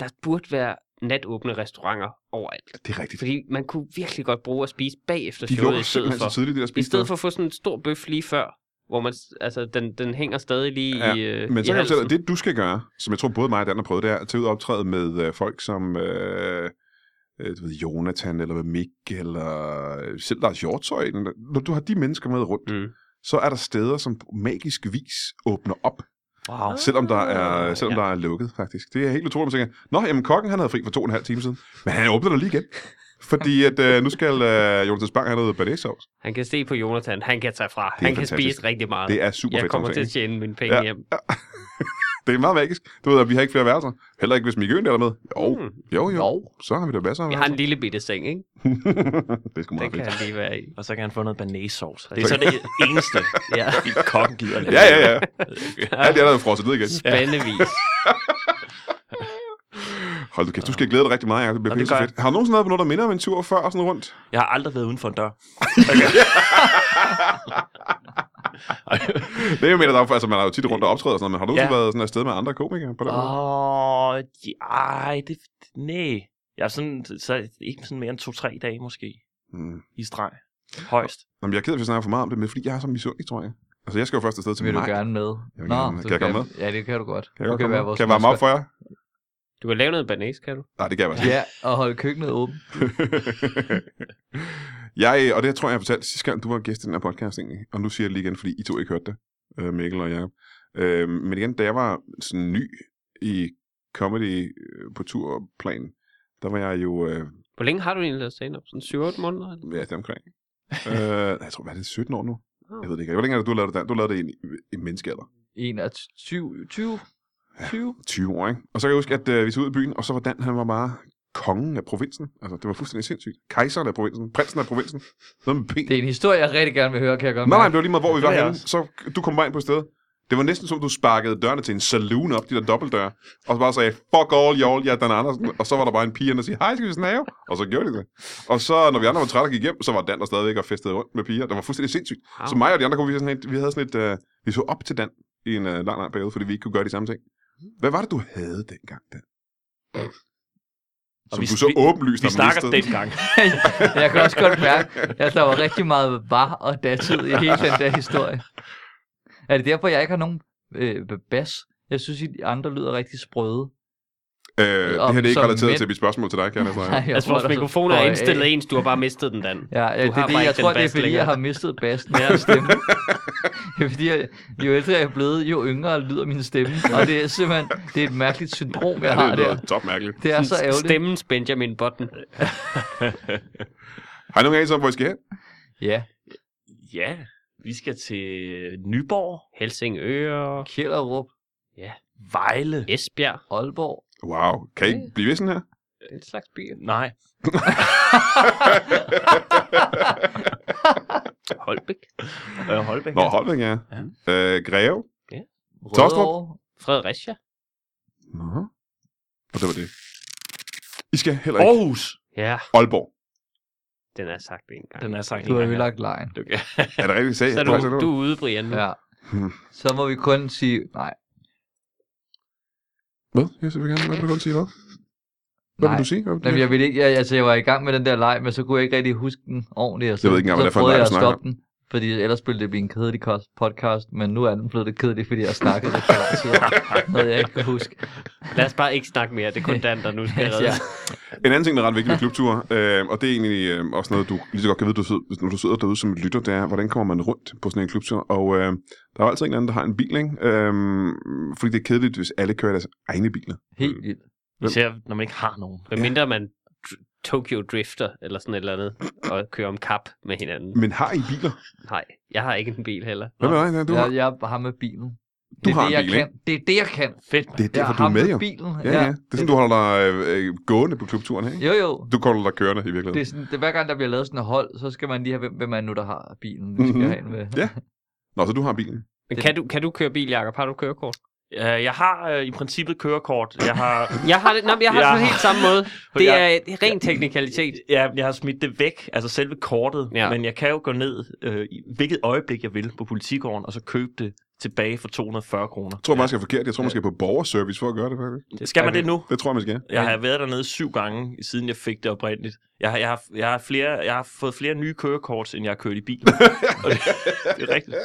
Speaker 4: Der burde være natåbne restauranter overalt.
Speaker 1: Det er rigtigt.
Speaker 4: Fordi man kunne virkelig godt bruge at spise bagefter
Speaker 1: De
Speaker 4: showet
Speaker 1: lukker
Speaker 4: i stedet
Speaker 1: simpelthen
Speaker 4: for.
Speaker 1: så tidligt, det der
Speaker 4: I
Speaker 1: spiste.
Speaker 4: stedet for at få sådan en stor bøf lige før, hvor man, s- altså, den, den hænger stadig lige
Speaker 1: Ja,
Speaker 4: i, øh,
Speaker 1: Men så
Speaker 4: i
Speaker 1: kan jeg fortælle,
Speaker 4: halsen.
Speaker 1: dig, det du skal gøre, som jeg tror både mig og Dan har prøvet, det er at tage ud og optræde med øh, folk som øh, øh, du ved, Jonathan, eller med Mik, eller øh, selv Lars Hjortøj. eller- Når du har de mennesker med rundt,
Speaker 4: Mm.
Speaker 1: så er der steder, som på magisk vis åbner op,
Speaker 3: Wow.
Speaker 1: selvom der
Speaker 4: Ah,
Speaker 1: er, selvom ja. der er lukket, faktisk. Det er helt utroligt, man tænker, nå, jamen kokken han havde fri for to og en halv time siden, men han åbner der lige igen. Fordi at øh, nu skal øh, Jonathan Spang have noget banæssovs.
Speaker 4: Han kan se på Jonathan, han kan tage fra. Han kan
Speaker 1: fantastisk.
Speaker 4: spise rigtig meget.
Speaker 1: Det er super
Speaker 4: Ah, jeg
Speaker 1: fedt.
Speaker 4: kommer
Speaker 1: sådan
Speaker 4: til
Speaker 1: en
Speaker 4: at
Speaker 1: ting.
Speaker 4: tjene mine penge
Speaker 1: Ja.
Speaker 4: ja. hjem.
Speaker 1: Det er meget magisk. Du ved, at vi har ikke flere værelser. Heller ikke, hvis Mikke Øen er med. Jo,
Speaker 4: Mm.
Speaker 1: jo, jo. Så har vi da masser af
Speaker 4: Jeg har en lille bitte seng, ikke?
Speaker 1: det er sgu
Speaker 4: Den
Speaker 1: meget
Speaker 4: kan
Speaker 1: fedt.
Speaker 4: han lige være i.
Speaker 3: Og så kan han få noget banæsauce. Det er så det eneste, ja. kokken gider lave.
Speaker 1: Ja, ja, ja. Alt det er der frosset ned igen.
Speaker 4: Spændevis.
Speaker 1: Hold du kæft, du skal glæde dig rigtig meget, Jacob. Det bliver
Speaker 3: Nå, det gør
Speaker 1: pisse fedt. Har du nogensinde været på noget, der minder om en tur før og sådan rundt?
Speaker 3: Jeg har aldrig været uden for en dør.
Speaker 1: Det er jo mener, der, er- altså, man har jo tit rundt og optræder og sådan noget, men har du nogensinde
Speaker 3: Ja.
Speaker 1: været sådan et sted med andre komikere på den måde?
Speaker 3: Åh, oh, ej, det, nej. Jeg er sådan, så, ikke sådan mere end to-tre dage måske
Speaker 1: Mm.
Speaker 3: i streg. Højst.
Speaker 1: Nå, men jeg er ked af, at vi snakker for meget om det, men fordi jeg har sådan en misundelig, tror jeg. Altså, jeg skal jo først afsted til
Speaker 2: Vil du
Speaker 1: maj.
Speaker 2: gerne med?
Speaker 1: Jeg vil gerne med.
Speaker 2: så
Speaker 1: Kan jeg komme
Speaker 2: Ja, det kan du godt.
Speaker 1: Kan jeg,
Speaker 2: du
Speaker 1: godt komme
Speaker 2: være
Speaker 1: med?
Speaker 2: vores
Speaker 1: kan jeg varme op for
Speaker 2: mascot.
Speaker 1: jer?
Speaker 4: Du kan lave noget banæs, kan du?
Speaker 1: Nej, det kan jeg faktisk
Speaker 2: Ja, og holde køkkenet åbent.
Speaker 1: jeg, og det tror jeg, jeg fortalte sidste gang, du var gæst i den her podcast egentlig, og nu siger jeg det lige igen, fordi I to ikke hørte det, øh, Mikkel og Jacob. Øh, men igen, da jeg var sådan ny i comedy øh, på turplan, der var jeg jo, øh,
Speaker 4: Hvor længe har du egentlig lavet stand-up? Sådan 7-8 måneder? eller?
Speaker 1: ja, det er omkring, øh, jeg tror, hvad er det, 17 år nu? Jeg ved det ikke. Hvor længe har du lavet det? Dan? Du lavede det i, i menneskealder.
Speaker 2: 21, 20, 20.
Speaker 1: 20 år, ikke? Og så kan jeg huske, at øh, vi tog ud i byen, og så var Dan, han var bare kongen af provinsen. Altså, det var fuldstændig sindssygt. Kejseren af provinsen. Prinsen af provinsen. Noget med P.
Speaker 2: Det er en historie, jeg rigtig gerne vil høre, kan jeg godt
Speaker 1: Nej, nej,
Speaker 2: mærke.
Speaker 1: det var lige meget, hvor vi
Speaker 3: Det
Speaker 1: var
Speaker 3: vil jeg
Speaker 1: henne. Så du kom bare ind på stedet. Det var næsten som, du sparkede dørene til en saloon op, de der dobbeltdøre. Og så bare sagde, fuck all, y'all, jeg er Dan Andersen. Og så var der bare en pige, der siger, hej, skal vi snave? Og så gjorde de det. Og så, når vi andre var trætte og gik hjem, så var Dan der stadigvæk og festede rundt med piger. Det var fuldstændig sindssygt.
Speaker 4: Wow.
Speaker 1: Så mig og de andre, kunne vi, sådan et, vi havde sådan et, øh, vi så op til Dan i en øh, lang, lang periode, fordi vi ikke kunne gøre de samme ting. Hvad var det, du havde dengang, Dan? Som
Speaker 3: vi-
Speaker 1: du så
Speaker 3: vi-
Speaker 1: åbenlyst
Speaker 3: Vi
Speaker 1: har
Speaker 3: snakker
Speaker 1: mistet. Øh,
Speaker 3: dengang.
Speaker 2: jeg kan også godt mærke, at der var rigtig meget var og datid i hele den der historie. Er det derfor, jeg ikke har nogen øh, bas? Jeg synes, at de andre lyder rigtig sprøde.
Speaker 1: Øh, det
Speaker 2: Om-
Speaker 1: her det er ikke
Speaker 2: som
Speaker 1: relateret
Speaker 2: mænd.
Speaker 1: til mit spørgsmål til dig, kan jeg næsten regne.
Speaker 2: Nej, jeg
Speaker 4: Altså,
Speaker 2: tror,
Speaker 4: vores
Speaker 2: der så
Speaker 4: mikrofoner er
Speaker 2: bøjer
Speaker 4: indstillet
Speaker 2: af.
Speaker 4: ens, du har bare mistet den, Dan.
Speaker 2: Ja, ja
Speaker 4: Du
Speaker 2: det,
Speaker 4: har
Speaker 2: er det,
Speaker 4: bare
Speaker 2: jeg
Speaker 4: ikke
Speaker 2: tror,
Speaker 4: den
Speaker 2: det er
Speaker 4: bas
Speaker 2: fordi,
Speaker 4: længere.
Speaker 2: jeg har mistet bassen i min stemme. Det er fordi, jeg, jo ældre jeg er blevet, jo yngre lyder min stemme. Og det er simpelthen det er et mærkeligt syndrom, jeg har
Speaker 1: Ja, det
Speaker 2: der.
Speaker 1: er topmærkeligt.
Speaker 2: Det er så ærgerligt.
Speaker 4: Stemmens Benjamin Button.
Speaker 1: Har I nogen anelse om, hvor I skal hen?
Speaker 2: Ja,
Speaker 3: Ja, vi skal til Nyborg,
Speaker 4: Helsingør,
Speaker 2: Kjellerup,
Speaker 3: Vejle.
Speaker 4: Esbjerg.
Speaker 2: Aalborg.
Speaker 1: Wow, kan I ikke blive ved sådan her?
Speaker 4: Det er en slags by.
Speaker 3: Nej,
Speaker 4: Holbæk.
Speaker 3: øh, Holbæk.
Speaker 1: Nå, Holbæk, ja.
Speaker 3: Ja.
Speaker 1: Øh, Greve. Tostrup.
Speaker 2: Rødovre.
Speaker 4: Fredericia.
Speaker 1: Nå. Og det var det. I skal heller ikke.
Speaker 3: Aarhus.
Speaker 4: Ja,
Speaker 1: Aalborg.
Speaker 4: den er sagt en gang.
Speaker 3: Den er sagt
Speaker 2: Du har
Speaker 3: engang.
Speaker 2: ødelagt lejen.
Speaker 4: Du, kan-
Speaker 1: Er det rigtigt, I sagde?
Speaker 4: så er
Speaker 1: Aalborg, sagde
Speaker 4: du, du er ude, Brian. Nu.
Speaker 2: Ja.
Speaker 1: Hmm.
Speaker 2: Så må vi kun sige, nej,
Speaker 1: Hvad? Jeg vil gerne. Hvad vil du gerne sige, hvad? Hvad vil
Speaker 2: Nej.
Speaker 1: du sige? Hvad vil du
Speaker 2: Jamen,
Speaker 1: sige?
Speaker 2: jeg, ville ikke, jeg, altså, jeg var i gang med den der leg, men så kunne jeg ikke rigtig huske den ordentligt. Og så,
Speaker 1: Jeg ved ikke engang, hvad det er
Speaker 2: så
Speaker 1: for en leg,
Speaker 2: prøvede jeg
Speaker 1: du
Speaker 2: at
Speaker 1: snakker
Speaker 2: stoppe den. Fordi ellers ville det blive en kedelig kost- podcast, men nu er den blevet lidt kedelig, fordi jeg snakkede lidt for lang tid. om Noget jeg ikke kan huske.
Speaker 4: Lad os bare ikke snakke mere. Det er kun Dan, der nu skal redde.
Speaker 2: Ja.
Speaker 4: ja.
Speaker 1: En anden ting, der er ret vigtig ved klubture, øh, og det er egentlig øh, også noget, du lige så godt kan vide, du sidder, hvis- når du sidder derude som et lytter, det er, hvordan kommer man rundt på sådan en klubtur? Og øh, der er jo altid en eller anden, der har en bil, ikke? Øh, fordi det er kedeligt, hvis alle kører i deres egne biler.
Speaker 2: Helt vildt.
Speaker 3: Især når man ikke har nogen.
Speaker 4: Hvad mindre man dr- Tokyo Drifter eller sådan et eller andet, og kører om kap med
Speaker 2: Mm.
Speaker 4: hinanden.
Speaker 1: Men har I biler?
Speaker 4: Nej, jeg har ikke en bil heller.
Speaker 1: Hvad med dig? Ja, Du har,
Speaker 2: Jeg, jeg har med bilen. Det
Speaker 1: Du
Speaker 2: er
Speaker 1: har
Speaker 2: det,
Speaker 1: en
Speaker 2: jeg
Speaker 1: bil,
Speaker 2: kan. Det er det, jeg kan.
Speaker 3: Fedt, mand.
Speaker 1: det er
Speaker 2: Jeg
Speaker 1: derfor,
Speaker 2: har
Speaker 1: du er
Speaker 2: ham
Speaker 1: med, jo.
Speaker 2: bilen.
Speaker 1: Ja, ja. Det er sådan, du holder dig øh, øh, gående på klubturen, ikke?
Speaker 2: Jo, jo.
Speaker 1: Du holder dig kørende i
Speaker 2: Det er
Speaker 1: virkeligheden.
Speaker 2: sådan, det, er hver gang, der bliver lavet sådan et hold, så skal man lige have, hvem, hvem er nu, der har bilen. Vi skal
Speaker 1: Mhm.
Speaker 2: have en med.
Speaker 1: Ja. Nå, så du har bilen.
Speaker 4: Men
Speaker 2: Det-
Speaker 4: kan du, kan du køre bil, Jacob? Har du kørekort?
Speaker 3: Øh, Jeg har øh, i princippet kørekort. Jeg har
Speaker 4: Jeg har det, nå, men jeg har det
Speaker 3: Ja.
Speaker 4: på helt samme måde. Det
Speaker 3: Jeg-
Speaker 4: er et- ren teknikalitet.
Speaker 3: Ja, jeg har smidt det væk, altså selve kortet,
Speaker 4: Ja.
Speaker 3: ja. men jeg kan jo gå ned, øh, i hvilket øjeblik jeg vil, på politigården, og så købe det tilbage for 240 kroner.
Speaker 1: Jeg tror, man skal forkert. Jeg tror, man skal på borgerservice for at gøre det, faktisk.
Speaker 3: Skal man det nu?
Speaker 1: Det tror jeg, man skal.
Speaker 3: Jeg har været dernede syv gange, siden jeg fik det oprindeligt. Jeg har, jeg har, jeg har, flere, jeg har fået flere nye kørekort, end jeg har kørt i bil. Og det, det er rigtigt.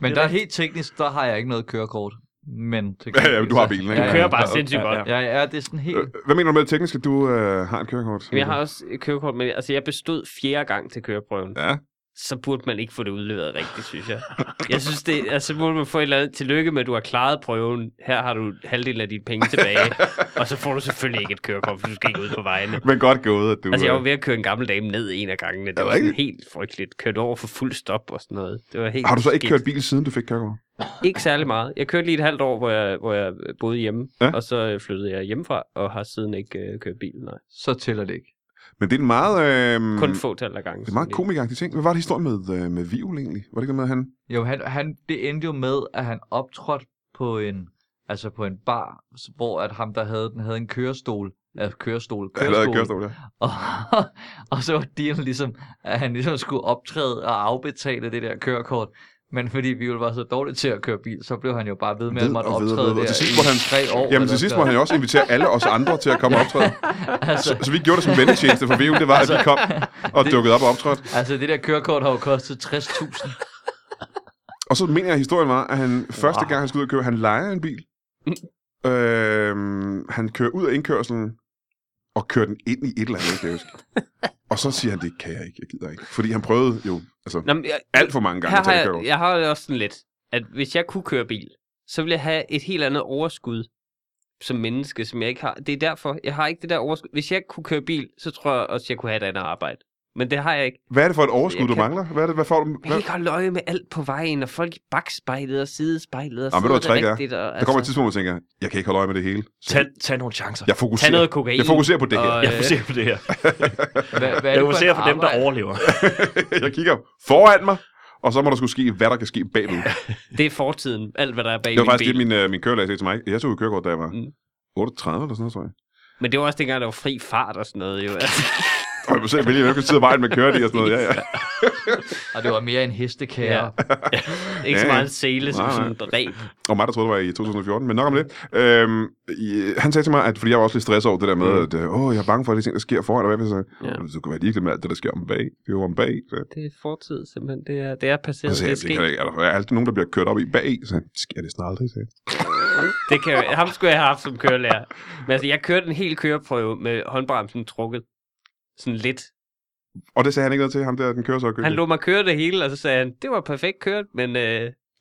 Speaker 2: Men
Speaker 3: Det er
Speaker 2: der er
Speaker 3: rigtigt.
Speaker 2: helt teknisk, der har jeg ikke noget kørekort. Men til
Speaker 1: Ja, ja, men du har
Speaker 2: gengæld, så-
Speaker 1: bilen, ikke?
Speaker 4: Du
Speaker 2: Ja, ja.
Speaker 4: kører bare sindssygt
Speaker 3: Ja,
Speaker 4: godt.
Speaker 3: ja.
Speaker 2: Ja, ja, det er sådan helt...
Speaker 1: Øh, Hvad mener du med det tekniske? Du øh, har et kørekort.
Speaker 4: Men jeg har også et kørekort, men altså, jeg bestod fjerde gang til køreprøven.
Speaker 1: Ja.
Speaker 4: Så burde man ikke få det udleveret rigtigt, synes jeg. Jeg synes, det, altså, så burde man få et eller andet tillykke med, at du har klaret prøven. Her har du halvdelen af dine penge tilbage. og så får du selvfølgelig ikke et kørekort, for du skal ikke ud på vejene.
Speaker 1: Men godt gået, at du...
Speaker 4: Altså, jeg var
Speaker 1: øh,
Speaker 4: ved at køre en gammel dame ned en af gangene. Det
Speaker 1: det
Speaker 4: var sådan
Speaker 1: rigtigt?
Speaker 4: helt frygteligt. Kørte over for fuld stop og sådan noget. Det var helt
Speaker 1: Har du så ikke
Speaker 4: skidt.
Speaker 1: kørt bil, siden du fik kørekort?
Speaker 4: Ikke særlig meget. Jeg kørte lige et halvt år, hvor jeg, hvor jeg boede hjemme.
Speaker 1: Ja.
Speaker 4: Ja. Og så øh, flyttede jeg hjemmefra, og har siden ikke øh, kørt bil. Nej.
Speaker 2: så tæller det ikke.
Speaker 1: Men det er en meget... Øh,
Speaker 4: Kun få tal af gange.
Speaker 1: Det er meget komikagtig ting. Hvad var det historien med, øh, med Viol egentlig? Var det ikke noget med, at han...
Speaker 2: Jo, han, han, det endte jo med, at han optrådte på en, altså på en bar, s- hvor at ham, der havde den, havde en kørestol, altså kørestol,
Speaker 1: Han lavede
Speaker 2: kørestol,
Speaker 1: øh, kørestol, ja.
Speaker 2: Og, og så var dealen ligesom, at han ligesom skulle optræde og afbetale det der kørekort. Men fordi vi jo var så dårlige til at køre bil, så blev han jo bare ved med at
Speaker 1: Ved
Speaker 2: måtte
Speaker 1: og ved og
Speaker 2: optræde
Speaker 1: ved. Og
Speaker 2: der
Speaker 1: til sidst
Speaker 2: i
Speaker 1: måtte han-
Speaker 2: tre år.
Speaker 1: Jamen
Speaker 2: eller
Speaker 1: til sidst
Speaker 2: sådan
Speaker 1: må han jo også invitere alle os andre til at komme og optræde.
Speaker 2: noget. altså,
Speaker 1: Så vi gjorde det som vendetjeneste for Viol, det var, at vi kom og
Speaker 2: det-
Speaker 1: dukkede op og optrådte.
Speaker 2: altså, det der kørekort har jo kostet 60.000.
Speaker 1: Og så mener jeg, at historien var, at han første gang, han skulle ud og køre, han leger en bil.
Speaker 4: Mm.
Speaker 1: øhm, han kører ud af indkørselen og kører den ind i et eller andet, kan jeg huske. Og så siger han, det kan jeg ikke, jeg gider ikke. Fordi han prøvede jo altså,
Speaker 4: Nå, men jeg,
Speaker 1: alt for mange gange
Speaker 4: her
Speaker 1: at
Speaker 4: har
Speaker 1: tage et
Speaker 4: jeg,
Speaker 1: kørekort.
Speaker 4: jeg har det også sådan lidt, at hvis jeg kunne køre bil, så ville jeg have et helt andet overskud som menneske, som jeg ikke har. Det er derfor, jeg har ikke det der overskud. Hvis jeg kunne køre bil, så tror jeg også, jeg kunne have et andet arbejde. Men det har jeg ikke.
Speaker 1: Hvad er det for et overskud,
Speaker 4: Jeg
Speaker 1: du
Speaker 4: kan-
Speaker 1: mangler? Hvad er det, hvad får du?
Speaker 4: Man kan
Speaker 1: Hvad?
Speaker 4: ikke holde øje med alt på vejen, og folk i bagspejlet og sidespejlet, og
Speaker 1: Jamen, ved du, hvad
Speaker 4: sidder det
Speaker 1: tricket er?
Speaker 4: rigtigt. Og,
Speaker 1: Der kommer et tidspunkt, hvor jeg tænker, jeg kan ikke holde øje med det hele. Så
Speaker 3: Tag, tag nogle chancer.
Speaker 1: jeg
Speaker 4: altså- Tag
Speaker 1: fokuserer.
Speaker 4: noget kokain.
Speaker 1: Jeg fokuserer på det her.
Speaker 4: og,
Speaker 3: Jeg
Speaker 4: øh,
Speaker 3: fokuserer på det her.
Speaker 2: Hvad, hvad er
Speaker 3: Jeg
Speaker 2: det for
Speaker 3: fokuserer
Speaker 2: et
Speaker 3: på dem, der
Speaker 2: arbejde?
Speaker 3: overlever.
Speaker 1: jeg kigger foran mig, og så må der skulle ske, hvad der kan ske bagved.
Speaker 4: Det er fortiden, alt hvad der er bag
Speaker 1: Det var
Speaker 4: min
Speaker 1: faktisk
Speaker 4: bil.
Speaker 1: det, min, øh, min kørelærer sagde til mig. Jeg tog jo kørekort, da jeg var
Speaker 4: Mm.
Speaker 1: 38 eller sådan noget, tror jeg.
Speaker 4: Men det var også dengang, der var fri fart og sådan noget. Jo.
Speaker 1: Og jeg må selv vælge, hvilken side af vejen man kører i og sådan noget. Ja, ja.
Speaker 2: Og det var mere en hestekære.
Speaker 4: ikke så
Speaker 1: Ja, ja.
Speaker 4: meget sele som
Speaker 1: Nej, nej.
Speaker 4: sådan en reb.
Speaker 1: Og mig, der troede, det var i 2014, men nok om det. Øhm, i, han sagde til mig, at fordi jeg var også lidt stresset over det der med,
Speaker 4: Mm.
Speaker 1: at øh, åh, jeg er bange for alle de ting, der sker foran, og hvad så?
Speaker 4: Ja.
Speaker 1: Ja. Du kan være ligeglad med alt det, der sker om bag. Det er jo om bag. Så.
Speaker 4: Det er fortid, simpelthen. Det er, det er passeret.
Speaker 1: Så sagde jeg,
Speaker 4: det,
Speaker 1: Altså, det kan jeg ikke. Er der er altid nogen, der bliver kørt op i bag? Så det sker det snart aldrig, sagde jeg.
Speaker 4: det kan jeg, ham skulle jeg have haft som kørelærer. Men altså, jeg kørte en hel køreprøve med håndbremsen trukket. Sådan lidt.
Speaker 1: Og det sagde han ikke noget til ham der, den kører så og kører.
Speaker 4: Han lå mig køre det hele, og så sagde han, det var perfekt kørt, men øh,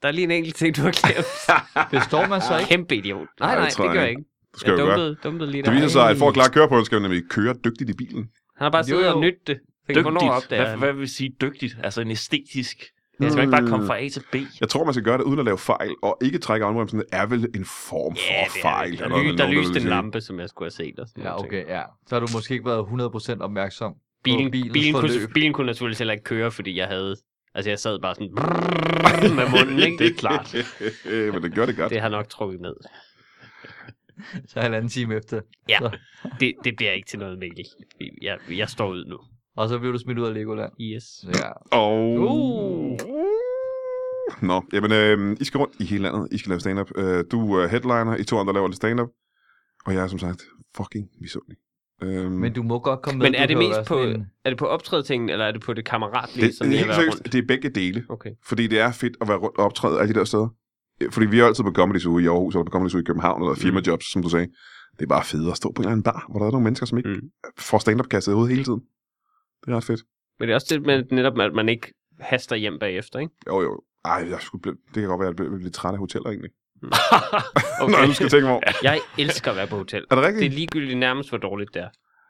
Speaker 4: der er lige en enkelt ting, du har glemt.
Speaker 2: Består man så ikke?
Speaker 4: Kæmpe idiot. Nej,
Speaker 1: Nej,
Speaker 4: nej,
Speaker 1: det
Speaker 4: det
Speaker 1: tror
Speaker 4: gør
Speaker 1: jeg
Speaker 4: jeg
Speaker 1: ikke.
Speaker 4: ikke.
Speaker 1: Det skal
Speaker 4: Jeg
Speaker 1: jeg jo gøre.
Speaker 4: dumpede, dumpede lige
Speaker 1: Det
Speaker 4: der.
Speaker 1: viser sig, at for at klare køreprøven, skal man nemlig køre dygtigt i bilen.
Speaker 4: Han har bare siddet
Speaker 2: Jo, jo.
Speaker 4: og nyttet det. Tænkte, Hvornår
Speaker 3: Dygtigt.
Speaker 4: opdager
Speaker 3: Hvad,
Speaker 4: han?
Speaker 3: hvad vil sige dygtigt? Altså en æstetisk. Jeg skal ikke bare komme fra A til B.
Speaker 1: Jeg tror, man skal gøre det uden at lave fejl, og ikke trække armbremsen er vel en form for
Speaker 4: Ja, det er
Speaker 1: fejl.
Speaker 4: det.
Speaker 1: eller
Speaker 4: Der, ly,
Speaker 1: noget,
Speaker 4: der
Speaker 1: nogen vil
Speaker 4: lyste en
Speaker 1: sige.
Speaker 4: lampe, som jeg skulle have set. Og sådan
Speaker 2: Ja,
Speaker 4: nogle ting.
Speaker 2: okay, ja. Så har du måske ikke været 100% opmærksom.
Speaker 4: Bilen,
Speaker 2: bilens
Speaker 4: bilen, bilen, kunne,
Speaker 2: forløb.
Speaker 4: bilen kunne naturligvis heller ikke køre, fordi jeg havde... Altså, jeg sad bare sådan brrrr med munden, ikke? Det er klart.
Speaker 1: Men det gør det godt.
Speaker 4: Det har nok trukket ned.
Speaker 2: Så halvanden time efter.
Speaker 4: Ja,
Speaker 2: Så.
Speaker 4: det, det bliver ikke til noget, Mikkel. Jeg, jeg står ud nu.
Speaker 2: Og så blev du smidt ud af Legoland.
Speaker 4: Yes.
Speaker 2: Så ja.
Speaker 1: Og...
Speaker 4: Uh.
Speaker 1: Nå, jamen, øh, I skal rundt i hele landet. I skal lave stand-up. Øh, du er headliner, I to andre laver lidt stand-up. Og jeg er som sagt fucking misundelig. Øhm,
Speaker 2: Men du må godt komme med.
Speaker 4: Men
Speaker 2: du
Speaker 4: er det
Speaker 2: kan jo
Speaker 4: mest
Speaker 2: være
Speaker 4: på,
Speaker 2: sådan en-
Speaker 4: er det på optrædetingen, eller er det på det kammeratlige,
Speaker 1: det,
Speaker 4: som
Speaker 1: det, er
Speaker 4: det er
Speaker 1: helt
Speaker 4: været
Speaker 1: seriøst,
Speaker 4: rundt?
Speaker 1: det er begge dele.
Speaker 4: Okay.
Speaker 1: Fordi det er fedt at være rundt og optræde alle de der steder. Fordi vi er jo altid på Comedy Zoo i Aarhus, eller på Comedy Zoo i København,
Speaker 4: Mm.
Speaker 1: eller firmajobs, som du sagde. Det er bare fedt at stå på en eller anden bar, hvor der er nogle mennesker, som ikke
Speaker 4: Mm.
Speaker 1: får stand-up kastet ud hele tiden. Det er ret fedt.
Speaker 4: Men det er også det med netop, at man ikke haster hjem bagefter, ikke?
Speaker 1: Jo, jo. Ej, jeg skulle blive, det kan godt være, at jeg blev lidt træt af hoteller egentlig.
Speaker 4: Mm.
Speaker 1: Okay. Når jeg nu
Speaker 4: Okay.
Speaker 1: skal tænke mig over.
Speaker 4: Jeg elsker at være på hotel.
Speaker 1: Er det
Speaker 4: Det er
Speaker 1: rigtigt?
Speaker 4: ligegyldigt nærmest, hvor dårligt det er.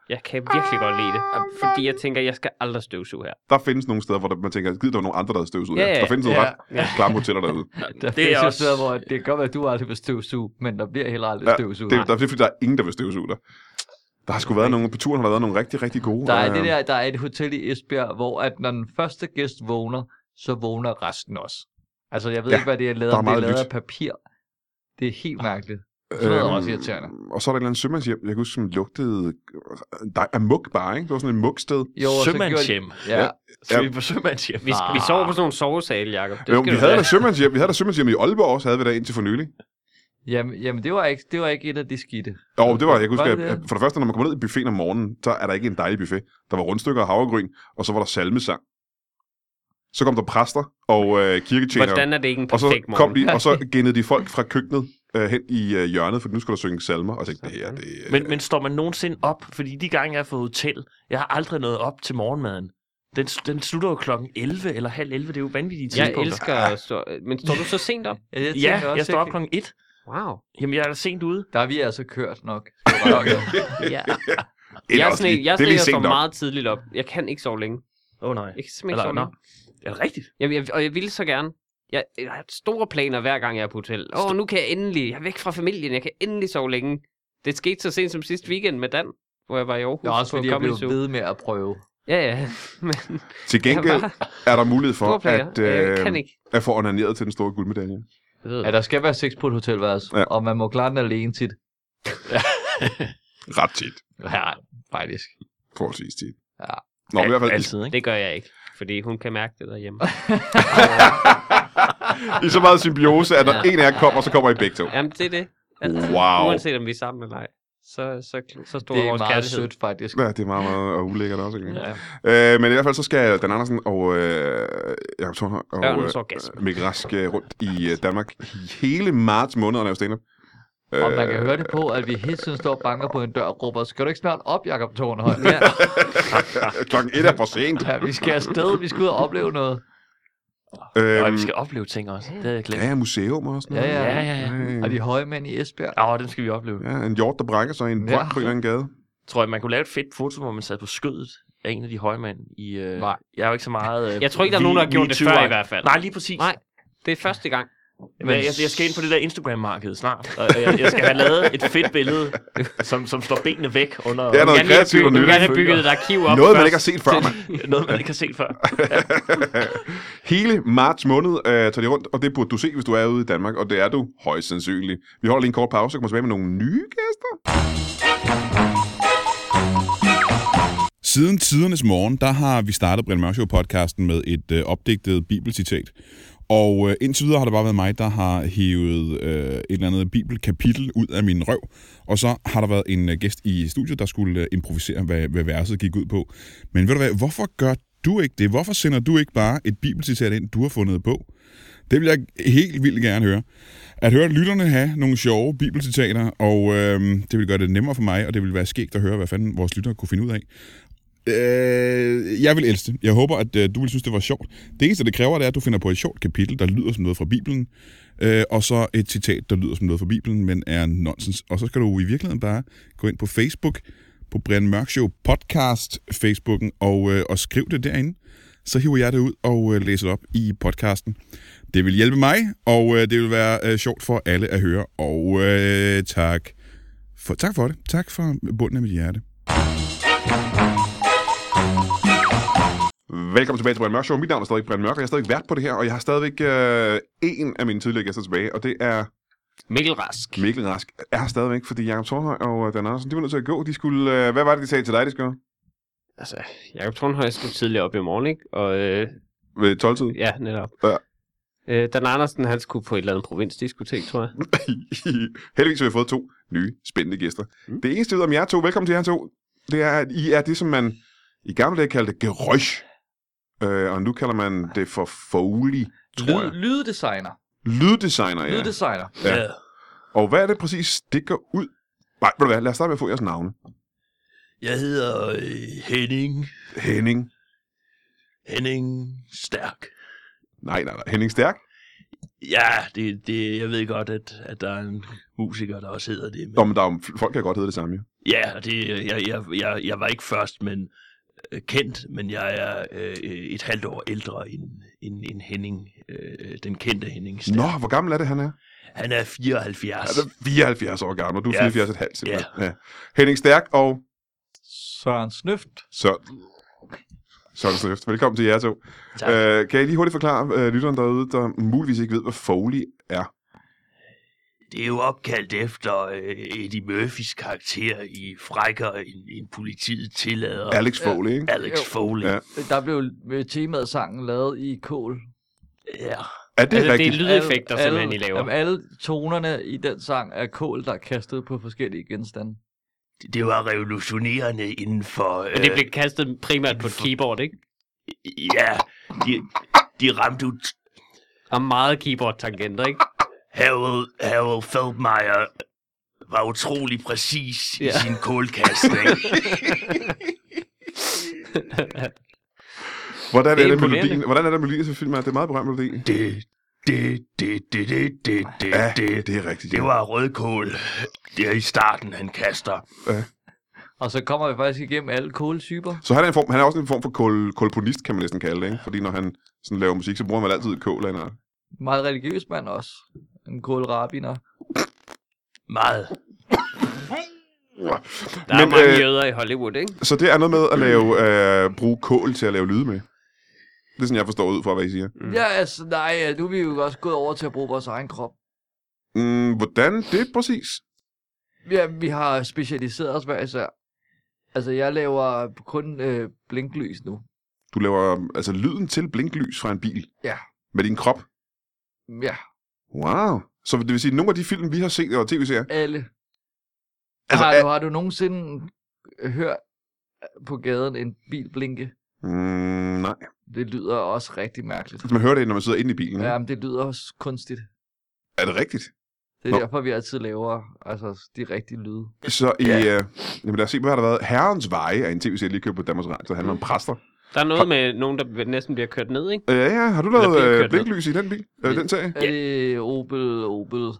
Speaker 4: Jeg kan virkelig godt lide det, og- fordi jeg tænker, jeg skal aldrig støvsuge her.
Speaker 1: Der findes nogle steder, hvor der, man tænker, gider der var nogle andre, der havde støvs ud
Speaker 4: Ja,
Speaker 1: her.
Speaker 4: ja,
Speaker 1: Der findes nogle
Speaker 2: ja,
Speaker 1: ret klamme hoteller derude.
Speaker 2: Der det
Speaker 3: er
Speaker 2: findes
Speaker 3: også-
Speaker 2: også... steder, hvor det kan godt være, at du aldrig vil støvsuge, men der bliver heller aldrig
Speaker 1: Ja,
Speaker 2: ja, støvsuge.
Speaker 1: Det, er- der, det er fordi, der er ingen, der vil støvsuge dig. Der har sgu været nogle, på turen har der været nogle rigtig, rigtig gode.
Speaker 2: Der er,
Speaker 1: øh,
Speaker 2: det der, der er et hotel i Esbjerg, hvor at når den første gæst vågner, så vågner resten også. Altså, jeg ved
Speaker 1: Ja,
Speaker 2: ja, ikke, hvad det er lavet.
Speaker 1: der er
Speaker 2: om Det er
Speaker 1: meget
Speaker 2: lavet
Speaker 1: lyt.
Speaker 2: af papir. Det er helt mærkeligt. Sådan noget er også irriterende.
Speaker 1: øhm, Og så er der et eller andet sømandshjem, jeg kan huske, som lugtede der er muk bare, ikke? Det var sådan et mugsted.
Speaker 2: Jo, og så gjorde de-
Speaker 3: Sømandshjem.
Speaker 2: Ja,
Speaker 3: Skal vi på sømandshjem?
Speaker 4: Vi, sk- vi
Speaker 2: Ah.
Speaker 4: sover på sådan nogle sovesale, Jacob. Det
Speaker 1: Jo,
Speaker 4: skal
Speaker 1: vi
Speaker 4: du
Speaker 1: havde,
Speaker 4: være.
Speaker 1: der sømandshjem, vi havde der sømandshjem i Aalborg også, havde vi der indtil for nylig.
Speaker 2: jamen, jamen det, var ikke, det var ikke et af de skidte.
Speaker 1: Jo, det var, jeg kan huske,
Speaker 2: Var
Speaker 1: at,
Speaker 2: det
Speaker 1: at
Speaker 2: det?
Speaker 1: for det første, når man kommer ned i buffeten om morgenen, så er der ikke en dejlig buffet. Der var rundstykker og havregryn, og så var der salmesang. Så kom der præster og øh, kirketjenere.
Speaker 4: Hvordan er det ikke en
Speaker 1: Og så
Speaker 4: perfekt
Speaker 1: kom
Speaker 4: morgen?
Speaker 1: de, og så gennede de folk fra køkkenet øh, hen i øh, hjørnet, for nu skulle der synge salmer, og jeg tænkte, det her, det... Øh,
Speaker 3: Men, men står man nogensinde op? Fordi de gange, jeg har fået hotel, jeg har aldrig nået op til morgenmaden. Den, den slutter jo klokken 11 eller halv 11. Det er jo vanvittige
Speaker 4: Jeg
Speaker 3: tidspunkter.
Speaker 4: elsker at stå... Men står du så sent op?
Speaker 2: Ja, jeg tænker
Speaker 3: Ja, jeg står op klokken 1.
Speaker 4: Wow.
Speaker 3: Jamen, jeg er da sent ude.
Speaker 2: Der er vi altså kørt nok. skal jeg bare høre.
Speaker 4: Ja.
Speaker 1: det er
Speaker 4: Jeg er
Speaker 1: også
Speaker 4: sådan en,
Speaker 1: lige-
Speaker 4: jeg er
Speaker 1: det er
Speaker 4: sådan en,
Speaker 1: lige
Speaker 4: der står
Speaker 1: sent nok.
Speaker 4: meget tidligt op. Jeg kan ikke sove længe.
Speaker 3: Åh oh, nej.
Speaker 4: Jeg kan simpelthen ikke sove
Speaker 3: Eller,
Speaker 4: længe.
Speaker 3: nå. Er det rigtigt?
Speaker 4: Jamen, jeg, og jeg ville så gerne. Jeg, jeg har store planer hver gang, jeg er på hotel. Åh, oh, nu kan jeg endelig. Jeg er væk fra familien. Jeg kan endelig sove længe. Det skete så sent som sidste weekend med Dan, hvor jeg var i Aarhus
Speaker 2: Det er også
Speaker 4: på
Speaker 2: fordi, jeg
Speaker 4: Comedy
Speaker 2: blev
Speaker 4: Zoo.
Speaker 2: ved med at prøve.
Speaker 4: Ja, ja. Men
Speaker 1: Til
Speaker 4: jeg
Speaker 1: gengæld
Speaker 4: var
Speaker 1: er der mulighed for,
Speaker 4: store planer.
Speaker 1: at,
Speaker 4: jeg
Speaker 1: øh,
Speaker 4: kan ikke.
Speaker 1: at få onaneret til den store guldmedalje.
Speaker 4: Jeg ved.
Speaker 2: Ja, der skal være seks på et hotelværelse,
Speaker 1: Ja.
Speaker 2: ja. og man må klare den alene tit.
Speaker 1: Ret tit,
Speaker 2: Ja, faktisk.
Speaker 1: forholdsvis tit.
Speaker 2: Ja.
Speaker 1: Nå, i hvert fald, i,
Speaker 3: Altid, ikke?
Speaker 4: Det gør jeg ikke, fordi hun kan mærke det derhjemme.
Speaker 1: i så meget symbiose, at når
Speaker 4: Ja.
Speaker 1: en af jer kommer, så kommer I begge to.
Speaker 4: Jamen, det er det. Altid.
Speaker 1: Wow.
Speaker 4: Uanset om vi er sammen eller ej, så, så, så stor
Speaker 2: Det
Speaker 4: er
Speaker 2: er
Speaker 4: vores
Speaker 2: meget
Speaker 4: kærlighed.
Speaker 2: sødt, faktisk.
Speaker 1: Ja, det er meget, meget og ulækkert også, ikke?
Speaker 4: Ja.
Speaker 1: Øh, men i hvert fald, så skal Dan Andersen og øh, Jacob Thornhøj og
Speaker 4: Ørnens orgasme.
Speaker 1: øh, Mikkel Rask øh, rundt i øh, Danmark i hele marts måned og lave stand-up. Øh,
Speaker 2: Og man kan høre det på, at vi hele tiden står og banker på en dør og råber, skal du ikke snart op, Jakob Tornhøj?
Speaker 4: Ja.
Speaker 1: Klokken et er for sent.
Speaker 2: Ja, vi skal afsted, vi skal ud og opleve noget.
Speaker 1: Øhm,
Speaker 3: Og vi skal opleve ting også. Det havde jeg glemt.
Speaker 1: Ja, museum og sådan
Speaker 2: Ja,
Speaker 1: noget.
Speaker 2: ja.
Speaker 3: Ja, ja, ja.
Speaker 2: Og de høje mænd i Esbjerg.
Speaker 3: Åh, den skal vi opleve.
Speaker 1: ja. en hjort, der brækker sig i en brønd
Speaker 2: Ja.
Speaker 1: på en eller anden gade.
Speaker 3: Tror jeg, man kunne lave et fedt foto, hvor man sad på skødet af en af de højmænd i... Øh,
Speaker 2: Nej.
Speaker 3: Jeg er jo ikke så meget... Øh,
Speaker 4: Jeg tror ikke, der er nogen, der har gjort det før i hvert fald.
Speaker 3: Nej, lige præcis.
Speaker 4: Nej. Det er første gang.
Speaker 3: Men jeg, jeg skal ind på det der Instagram-marked snart, og jeg, jeg skal have lavet et fedt billede, som, som står benene væk under...
Speaker 1: Ja,
Speaker 4: Du
Speaker 1: noget
Speaker 4: vil gerne
Speaker 1: kreativt og
Speaker 4: have bygget- du vil
Speaker 1: nyt.
Speaker 4: gerne have bygget et arkiv op
Speaker 1: Noget, man
Speaker 4: først.
Speaker 1: ikke har set før, mand.
Speaker 3: Noget, man ikke har set før.
Speaker 1: Hele marts måned øh, tager de rundt, og det burde du se, hvis du er ude i Danmark, og det er du højst sandsynligt. Vi holder lige en kort pause og kommer tilbage med nogle nye gæster.
Speaker 5: Siden tidernes morgen, der har vi startet Brian Mørk Show podcasten med et øh, opdigtet bibelcitat. Og øh, indtil videre har det bare været mig, der har hævet øh, et eller andet bibelkapitel ud af min røv. Og så har der været en øh, gæst i studiet, der skulle øh, improvisere, hvad, hvad verset gik ud på. Men ved du hvad, hvorfor gør du ikke det? Hvorfor sender du ikke bare et bibelcitat ind, du har fundet på? Det vil jeg helt vildt gerne høre. At høre lytterne have nogle sjove bibelcitater, og øh, det vil gøre det nemmere for mig, og det vil være skægt at høre, hvad fanden vores lyttere kunne finde ud af. Øh, jeg vil elske det. Jeg håber, at øh, du vil synes, det var sjovt. Det eneste, det kræver, det er, at du finder på et sjovt kapitel, der lyder som noget fra Bibelen, øh, og så et citat, der lyder som noget fra Bibelen, men er nonsens. Og så skal du i virkeligheden bare gå ind på Facebook, på Brian Mørk Show Podcast Facebooken, og, øh, og skriv det derinde. Så hiver jeg det ud og øh, læser det op i podcasten. Det vil hjælpe mig, og øh, det vil være øh, sjovt for alle at høre. Og øh, tak, for, tak for det. Tak for bunden af mit hjerte.
Speaker 1: Velkommen tilbage til Brian Mørk Show. Mit navn er stadig Brian Mørk, og jeg er stadig vært på det her, og jeg har stadigvæk øh, en af mine tidligere gæster tilbage, og det er
Speaker 4: Mikkel Rask.
Speaker 1: Mikkel Rask. Jeg er stadigvæk, fordi Jacob Thornhøj og øh, Dan Andersen, de var nødt til at gå. De skulle, øh, hvad var det, de sagde til dig, de skulle?
Speaker 4: Altså, Jacob Tornhøj skulle tidligere op i morgen, ikke? Og øh,
Speaker 1: Ved 12 tid.
Speaker 4: ja, netop.
Speaker 1: Ja.
Speaker 4: Øh, Dan Andersen, han skulle på et eller andet provinsdiskotek, tror jeg.
Speaker 1: Heldigvis har vi fået to nye spændende gæster. Det eneste jeg ved om jer to, velkommen til jer to. det er, at I er det, som man i gamle dage kaldte geräusch. Øh, og nu kalder man det for foley, tror
Speaker 2: Lyd,
Speaker 1: jeg.
Speaker 2: lyddesigner.
Speaker 1: Lyddesigner, ja.
Speaker 2: Lyddesigner.
Speaker 1: Ja.
Speaker 3: Ja.
Speaker 1: Og hvad er det præcis, det går ud? Nej, ved du hvad, lad os starte med at få jeres navne.
Speaker 3: Jeg hedder øh, Henning.
Speaker 1: Henning.
Speaker 3: Henning Stærk.
Speaker 1: Nej, nej, nej. Henning Stærk.
Speaker 3: Ja, det, det, jeg ved godt, at, at der er en musiker, der også hedder det. Men...
Speaker 1: Nå, men der er, jo- folk kan godt hedde det samme, jo.
Speaker 3: Ja, det, jeg, jeg, jeg, jeg var ikke først men øh, kendt, men jeg er øh, et halvt år ældre end, end, end Henning, øh, den kendte Henning Stærk.
Speaker 1: Nå, hvor gammel er det, han er?
Speaker 3: Han er 74.
Speaker 1: Han er 74 år gammel, og du er
Speaker 3: Ja.
Speaker 1: 74 et halvt, simpelthen. Ja. Henning Stærk og
Speaker 2: Søren Snøft.
Speaker 1: Søren. Søren Sløft. Velkommen til jer to.
Speaker 3: Tak.
Speaker 1: Øh, kan I lige hurtigt forklare øh, lytteren derude, der muligvis ikke ved, hvad Foley er?
Speaker 3: Det er jo opkaldt efter øh, Eddie Murphys karakter i Frækker, en, en politiet tillader.
Speaker 1: Alex Foley, ikke?
Speaker 3: Alex
Speaker 2: Jo.
Speaker 3: Foley.
Speaker 1: Ja.
Speaker 3: Ja.
Speaker 2: Der blev øh, temaet sangen lavet i kål.
Speaker 3: ja.
Speaker 1: Er det
Speaker 4: Altså, det er
Speaker 1: rigtigt?
Speaker 4: lydeffekter, som han I laver.
Speaker 2: Jamen, alle tonerne i den sang er kål, der er kastet på forskellige genstande.
Speaker 3: Det- Det var revolutionerende inden for... øh,
Speaker 4: Men
Speaker 1: Øh.
Speaker 4: det blev kastet primært på et keyboard, ikke?
Speaker 3: Ja, de, de ramte ud
Speaker 4: Og meget keyboard-tangenter, ikke?
Speaker 3: Harold, Harold Feldmeier var utrolig præcis ja. i
Speaker 4: Ja.
Speaker 3: sin kålkastning.
Speaker 1: Hvordan
Speaker 4: Det
Speaker 1: er
Speaker 4: er
Speaker 1: det,
Speaker 4: imponerende.
Speaker 1: melodien? Hvordan er det melodien til filmen? er? Det er meget berømt melodi.
Speaker 3: det, det, det, det, det, det, det,
Speaker 1: Ja,
Speaker 3: det,
Speaker 1: det er rigtigt.
Speaker 3: det
Speaker 1: ja.
Speaker 3: var rødkål. Det er i starten, han kaster.
Speaker 2: Og så kommer vi faktisk igennem alle kåltyper.
Speaker 1: Så han er, en form, han er også en form for kol, kolponist, kan man næsten kalde det, ikke? Fordi når han sådan laver musik, så bruger man altid et kål af en art.
Speaker 2: Meget religiøs mand også. En kålrabiner.
Speaker 3: Meget.
Speaker 4: Der er
Speaker 1: Men,
Speaker 4: mange
Speaker 1: øh,
Speaker 4: jøder i Hollywood, ikke?
Speaker 1: Så det er noget med at lave, øh, bruge kål til at lave lyde med. Det er sådan, jeg forstår ud fra, hvad I siger.
Speaker 2: Mm. Ja, altså, nej, nu er vi jo også gået over til at bruge vores egen krop.
Speaker 1: Mm, hvordan det præcis?
Speaker 2: Ja, vi har specialiseret os hver især. Altså, jeg laver kun øh, blinklys nu.
Speaker 1: Du laver øhm, altså lyden til blinklys fra en bil.
Speaker 2: Ja.
Speaker 1: Med din krop.
Speaker 2: Ja,
Speaker 1: Wow. Så det vil sige, at nogle af de film, vi har set, og tv-serier,
Speaker 2: alle.
Speaker 1: altså,
Speaker 2: Altså, har,
Speaker 1: er,
Speaker 2: du, har du nogensinde hørt på gaden en bil blinke?
Speaker 1: mm, nej.
Speaker 2: Det lyder også rigtig mærkeligt.
Speaker 1: Man hører det, når man sidder inde i bilen.
Speaker 2: Ja,
Speaker 1: Ja.
Speaker 2: men det lyder også kunstigt.
Speaker 1: Er det rigtigt?
Speaker 2: Det er
Speaker 1: Nå.
Speaker 2: Nå. derfor, vi altid laver altså, de rigtige lyde.
Speaker 1: Så i, ja. øh, jamen lad os se, hvad har der været? Herrens Veje er en tv-serie, jeg lige købt på Danmarks Radio, der handler om præster.
Speaker 4: Der er noget med nogen, der næsten bliver kørt ned, ikke?
Speaker 1: Øh, ja, ja, har du
Speaker 4: Eller
Speaker 1: lavet
Speaker 4: bilen
Speaker 1: øh,
Speaker 4: kørt ned.
Speaker 1: blinklys i den bil? Øh, den serie?
Speaker 2: Er det Opel, Opel?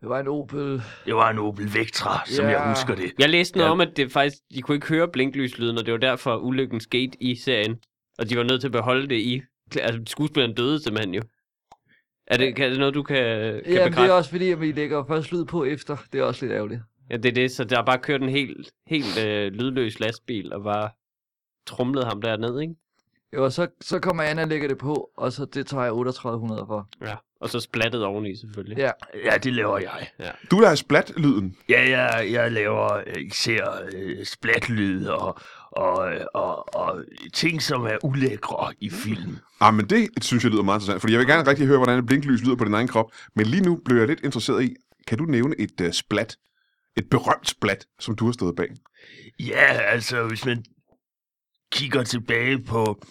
Speaker 2: Det var en Opel.
Speaker 3: Det var en Opel Vectra, som
Speaker 2: Ja.
Speaker 3: jeg husker det.
Speaker 4: Jeg læste noget ja. om, at det faktisk, de kunne ikke høre blinklyslydene, og det var derfor ulykken skete i serien. Og de var nødt til at beholde det i. Altså, skuespilleren døde simpelthen jo. Er det, kan, er det noget, du kan, kan
Speaker 2: Ja, det
Speaker 4: bekræfte?
Speaker 2: er også fordi, at vi lægger først lyd på efter. Det er også lidt ærgerligt.
Speaker 4: Ja, det er det. Så der har bare kørt en helt, helt øh, lydløs lastbil og bare trumlede ham derned, ikke?
Speaker 2: Jo, og så, så kommer Anna og lægger det på, og så det tager jeg 3800 for.
Speaker 4: Ja. Og så splattet oveni, selvfølgelig.
Speaker 2: Ja.
Speaker 3: Ja, det laver jeg.
Speaker 1: Du lader splat-lyden.
Speaker 3: Ja, jeg, jeg laver øh, især øh, splatlyd og, og, øh, og, og ting, som er ulækre i film.
Speaker 1: Ah, men det synes jeg lyder meget interessant, fordi jeg vil gerne rigtig høre, hvordan et blinklys lyder på din egen krop. Men lige nu blev jeg lidt interesseret i, kan du nævne et uh, splat, et berømt splat, som du har stået bag?
Speaker 3: Ja, altså, hvis man kigger tilbage på